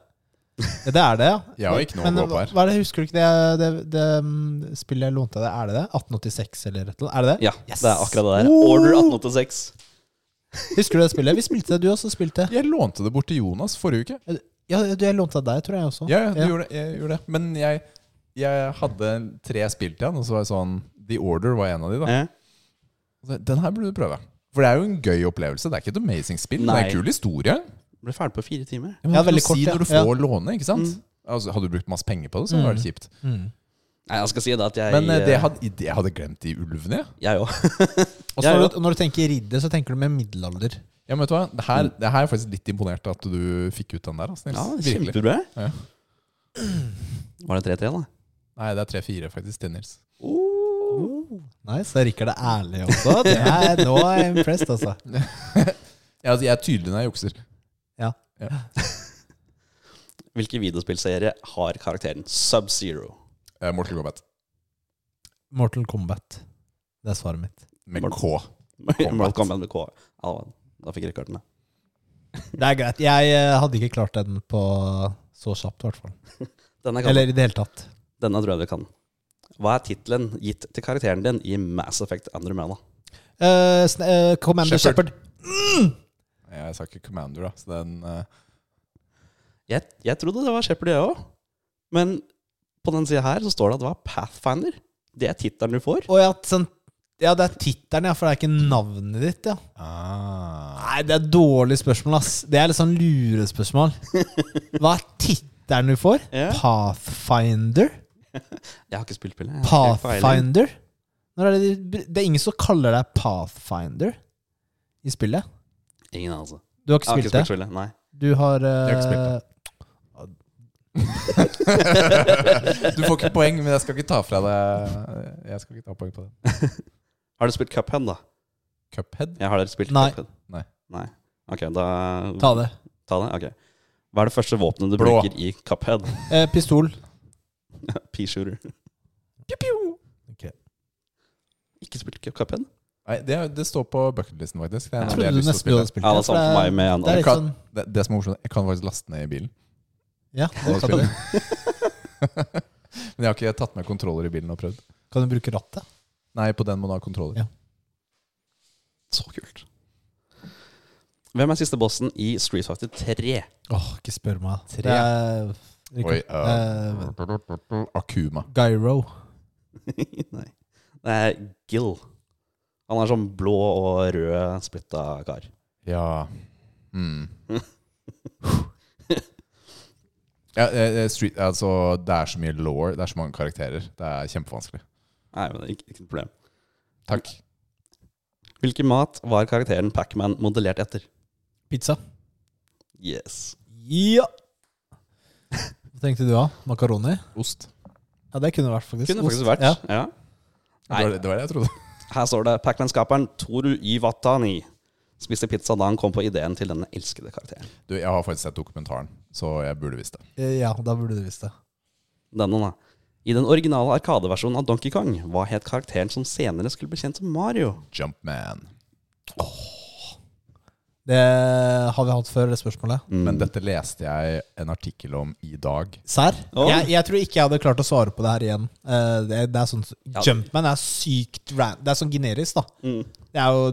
Ja, det er det, ja. Jeg har ikke noe Men å gå på her. hva er det, husker du ikke det, det, det mm, spillet jeg lånte av deg? Er det det? 1886 eller et eller annet? Er det det? Ja, Yes! det er akkurat det der. Oh! Order 1886. Husker du det spillet? Vi spilte det, du også spilte. Jeg lånte det bort til Jonas forrige uke. Ja, du, jeg lånte av deg, tror jeg også. Ja, ja, du Ja. Gjorde det, jeg gjorde det. Men jeg, jeg hadde tre spill til han, og så var jeg sånn The Order var en av de, da. Eh? Og så, Den her burde du prøve. For det er jo en gøy opplevelse. Det er ikke et amazing spill, det er Nei. en kul historie. Ble ferdig på fire timer. Ja, men Ja, det er veldig ikke noe å si kort, ja. når du får låne, ikke sant? Mm. Altså, hadde du brukt masse penger på det, så hadde det vært kjipt. Mm. Nei, jeg skal si det at jeg Men eh, det eh, hadde, det hadde jeg glemt de ulvene, jeg. Jeg òg. Og så Ja, når, du- når du tenker ridder, så tenker du med middelalder. Ja, men vet du hva? Det Mm. her, det her er jeg faktisk litt imponert at du fikk ut den der. Altså, Nils. Ja, Virkelig. kjempebra. Ja. Var det 3-3, da? Nei, det er tre-fire faktisk til Nils. Oh, Nice, da Rikard er ærlig også. Det er, nå er jeg impressed, altså. Ja, altså, jeg er tydelig når jeg jukser. Hvilken videospillserie har karakteren Sub-Zero? Eh, Mortal Kombat Mortal Kombat. Det er svaret mitt. med Mortal- K. Mortal Kombat med K. Ja, da fikk jeg kartene. Det er greit. Jeg eh, hadde ikke klart den på så kjapt, i hvert fall. Denne, kan, Eller i det hele tatt. denne tror jeg du kan. Hva er tittelen gitt til karakteren din i Mass Effect Andromeda? Eh, sn- eh, Commander Shepherd. Shepard. Jeg sa ikke Commander, da. Så den eh, Jeg, jeg trodde det var Shepherd, jeg òg. Men på den sida her så står det at det var Pathfinder. Det er tittelen du får. Og ja, sånn, ja, det er tittelen, ja, for det er ikke navnet ditt, ja. ah. Nei, det er dårlig spørsmål, ass. Det er litt sånn lurespørsmål. Hva er tittelen du får? Ja. Pathfinder? Jeg har ikke spilt spillet. jeg har ikke peiling. Pathfinder? Når er det, de- det er ingen som kaller deg Pathfinder i spillet. Ingen anelse. Du har Jeg ikke har ikke spilt det? spilt spillet, nei. Du har eh, har ikke spilt Du får ikke poeng, men jeg skal ikke ta fra deg eh, Jeg skal ikke ta poeng på den. Har du spilt Cuphead, da? Cuphead? Jeg har dere spilt Nei. Cuphead? Nei. Nei. Ok, da eh, Ta det. Ta det? Ok. Hva er det første våpenet du Blå. bruker i Cuphead? Eh, pistol. P-shooter. Ok. Ikke spilt Cuphead? Nei, det, er- det står på bucketlisten, faktisk. Det, er en Jeg av de jeg trodde har du lyst til å nesten spille. du hadde spilt Ja, det er for samme for meg med en det er annen. litt sånn det, det som er morsomt, jeg kan faktisk laste ned i bilen. Ja, Og du kan, spille. men jeg har ikke tatt med kontroller i bilen og prøvd. kan du bruke rattet? Nei, på den må du ha kontroller. Ja. Så kult. Hvem er siste bossen i Street Fighter 3? Åh, ikke spør meg. Tre. Det er Oi, Rikard. Eh, eh, Akuma. Gyro. Nei. Det er Gill. Han er sånn blå og rød splitta kar. Ja mm. ja, eh, eh, street, altså, Det er så mye law, det er så mange karakterer. Det er kjempevanskelig. Nei, men det er ikke, ikke noe problem. Takk. Hvilken mat var karakteren Pacman modellert etter? Pizza. Yes. Ja! Hva tenkte du da? Makaroni? Ost. Ja, det kunne det vært, faktisk. Kunne det Ost. faktisk vært. Ja. Ja. Det var det, det var det jeg trodde. Her står det Pacman-skaperen Toru Iwatani spiste pizza da han kom på ideen til denne elskede karakteren. Du, jeg har faktisk sett dokumentaren, så jeg burde visst det. Eh, ja, da burde du visst det. Denne, da. I den originale arkadeversjonen av Donkey Kong, hva het karakteren som senere skulle bli kjent som Mario? Jumpman. Det har vi hatt før, det spørsmålet. Mm. Men dette leste jeg en artikkel om i dag. Serr? Åh. Jeg, jeg tror ikke jeg hadde klart å svare på det her igjen. Eh, det, det er sånn Ja. Jumpman er sykt ran Det er sånn generisk, da. Mm. Det er jo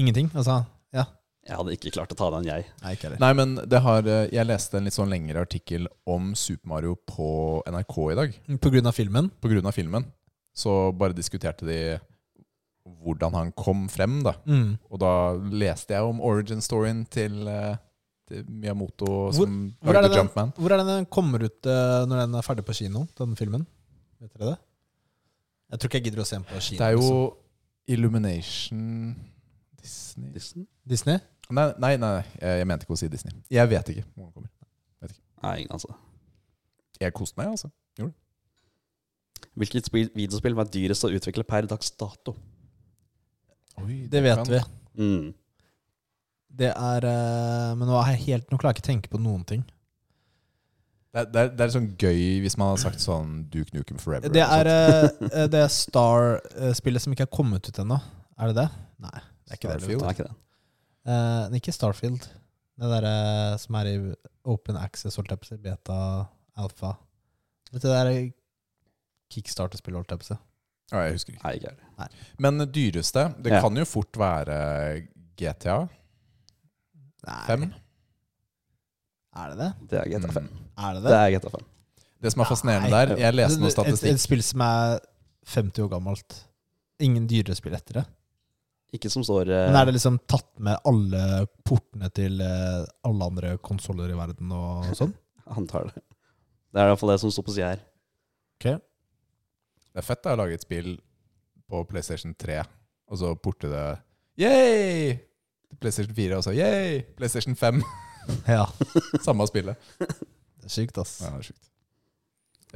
ingenting, altså. Ja. Jeg hadde ikke klart å ta den, jeg. Nei, ikke heller. Nei, men det har, eh, jeg leste en litt sånn lengre artikkel om Super Mario på NRK i dag. På grunn av filmen. På grunn av filmen. Så bare diskuterte de hvordan han kom frem. da. Mm. Og da leste jeg om origin storyen til, eh, til Miyamoto som hvor er lagde det den- Jumpman. Hvor er den den kommer ut eh, når den er ferdig på kino, den filmen? Vet dere det? Jeg tror ikke jeg gidder å se den på kino. Det er altså. jo Illumination Disney Disney? Disney? Nei, nei, nei, nei. jeg jeg mente ikke å si Disney. Jeg vet ikke hvor den kommer. Nei, altså. ingen anelse. Jeg koste meg, altså. Hvilket spill, videospill var dyrest å utvikle per dags dato? Oi, Det vet vi. Mm. Det er eh, Men nå, er jeg helt, nå klarer jeg ikke å tenke på noen ting. Det, er- det, er, det er sånn gøy hvis man har sagt sånn Duke Nukem Forever. Det eller er sånn. eh, det Star-spillet som ikke er kommet ut ennå. Er det det? Nei, det er ikke det. Starfield. Det er ikke det. Eh, men ikke Starfield. Det derre som er i open access, holdt jeg på å si. Beta, alfa. Vet du, det der kickstarter-spillet, holdt jeg på å si. sånt. Ja, sånn. jeg husker ikke. Nei, ikke er det. Men det dyreste Det Ja. kan jo fort være GTA Nei, 5. Er det det? Det er GTA 5. Er det Det det? er GTA 5. Det som er fascinerende Nei. der Jeg leste noe Et, et statistikk. spill som er 50 år gammelt. Ingen dyrere spill etter det. Ikke som står eh, Men er det liksom tatt med alle portene til eh, alle andre konsoller i verden og sånn? eh, Antar det. Det er iallfall det som står på sida her. Det er fett da, å lage et spill på PlayStation 3, og så porte det Yay! Til PlayStation 4, og så yay! PlayStation 5. Ja. Samme spillet. Det er sykt, ass. Ja, det er sjukt.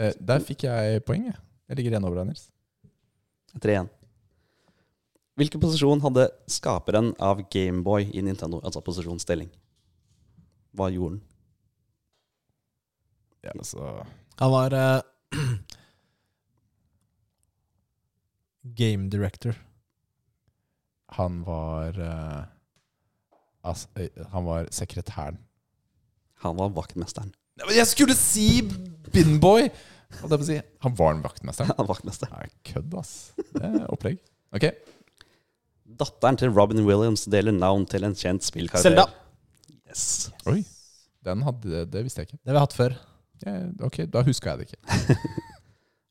Eh, der fikk jeg poeng, jeg. Jeg ligger igjen over deg, Nils. Tre igjen. Hvilken posisjon hadde skaperen av Gameboy i Nintendo? Altså posisjonsstilling. Hva gjorde den? Ja, altså Han var eh, Game director. Han var eh, ass- eh, Han var sekretæren. Han var vaktmesteren. Nei, men Jeg skulle si Binboy! Holdt jeg på å si. Han var den vaktmesteren. Han var vaktmester. Nei, kødd, ass. Det er opplegg. Ok. Datteren til Robin Williams deler navn til en kjent spillkarakter. Selda! Yes. Oi. Den hadde Det visste jeg ikke. Det har vi hatt før. Jeg, ok, da huska jeg det ikke.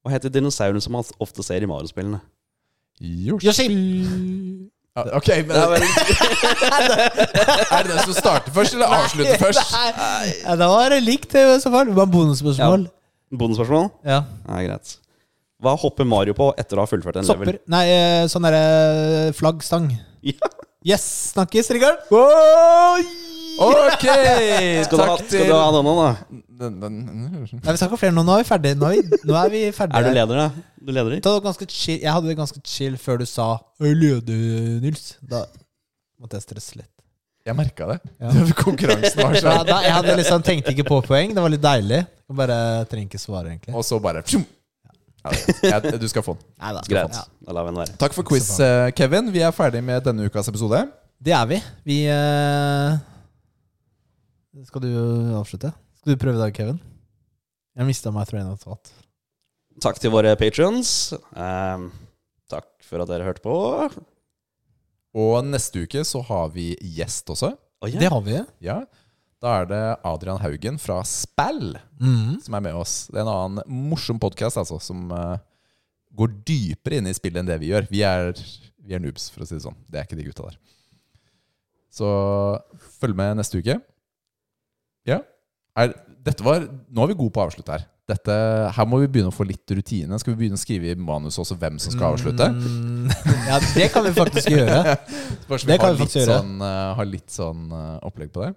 Hva heter dinosauren som man ofte ser i Mario-spillene? Yoshi. Yoshi! Ja, ok, men er det den som starter først, eller avslutter først? Ja, det var likt, i så fall. Det var bonusspørsmål. Bondespørsmål? Ja. Ja, greit. Hva hopper Mario på etter å ha fullført en level? Sopper. Nei, eh, sånn derre flaggstang. Ja. Yes! Snakkes, Rikard! Ok! Skal du, ha, Takk skal til du ha denne, da? den, den. Nei, vi skal ikke ha flere nå. Nå er vi ferdige. Nå er vi, nå er vi ferdige. Er du leder, da? Du leder i? Det var ganske chill. Jeg hadde det ganske chill før du sa «Jeg leder, Nils. Da måtte jeg stresse litt. Jeg merka det. Ja. Konkurransen var Ja, sånn. da, jeg hadde liksom tenkte ikke på poeng. Det var litt deilig. Jeg bare trenger ikke svare, egentlig. Og så bare pjom. ja, jeg, Du skal få den. Nei, da. Greit. Ja. Da lar vi den være. Takk for quiz, eh, Kevin. Vi er ferdig med denne ukas episode. Det er vi. Vi eh, Skal du avslutte? Skal du prøve i dag, Kevin? Jeg mista meg train of thought. Takk til våre patrions. Ehm, takk for at dere hørte på. Og neste uke så har vi gjest også. Å, ja. Det har vi. Ja. Da er det Adrian Haugen fra Spell Mm. som er med oss. Det er en annen morsom podkast altså, som eh, går dypere inn i spillet enn det vi gjør. Vi er, vi er noobs, for å si det sånn. Det er ikke de gutta der. Så følg med neste uke. Ja. Er, dette var, nå er vi gode på å avslutte her. Dette, her må vi begynne å få litt rutine. Skal vi begynne å skrive i manus også hvem som skal avslutte? Mm, ja, det kan vi faktisk gjøre. Bare så vi det kan har vi litt, faktisk gjøre. sånn, eh, har litt sånn eh, opplegg på det.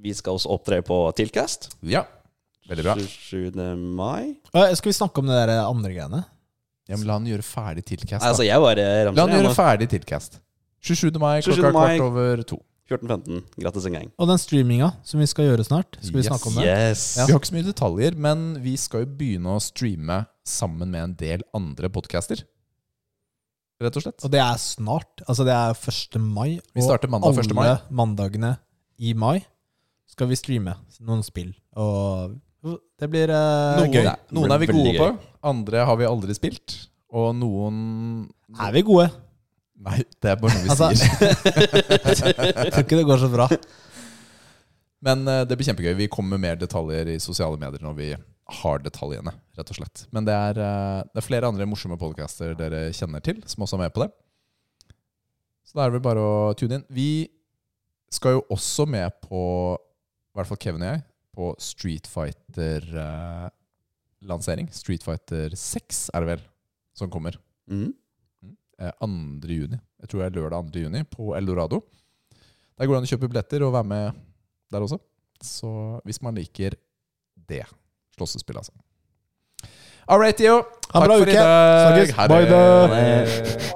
Vi skal også opptre på Tilkast. Ja. Veldig bra. 7. mai. Eh, Skal vi snakke om det der andre greiene? Ja, men la han gjøre ferdig tilcast. Nei, da. altså, jeg bare La ramser. han jeg, gjøre nå. ferdig tilcast. 27. mai 27. klokka mai. kvart over to. 14.15. Grattis en gang. Og den streaminga som vi skal gjøre snart. Skal vi Yes. snakke om det? Yes. Vi har ikke så mye detaljer, men vi skal jo begynne å streame sammen med en del andre podcaster. Rett og slett. Og det er snart. Altså det er 1. mai. Vi starter mandag 1. mai. Og alle mandagene i mai skal vi streame noen spill. Og det blir eh, Noen, gøy. noen er vi Veldig gode på, andre har vi aldri spilt. Og noen Er vi gode? Nei, det er bare noe vi Altså- sier. Jeg tror ikke det går så bra. Men eh, det blir kjempegøy. Vi kommer med mer detaljer i sosiale medier når vi har detaljene. rett og slett. Men det er, eh, det er flere andre morsomme podcaster dere kjenner til, som også er med på det. Så da er det vel bare å tune inn. Vi skal jo også med på, i hvert fall Kevin og jeg, på Street Fighter-lansering. Street Fighter 6 er det vel, som kommer. Mm. eh, 2. juni. Jeg tror det er lørdag 2. juni på Eldorado. Der går det an å kjøpe billetter og være med der også. Så hvis man liker det slåssespillet, altså. All right, Theo. Ha en bra uke. dag. Snakkes. Ha Bye, da. det.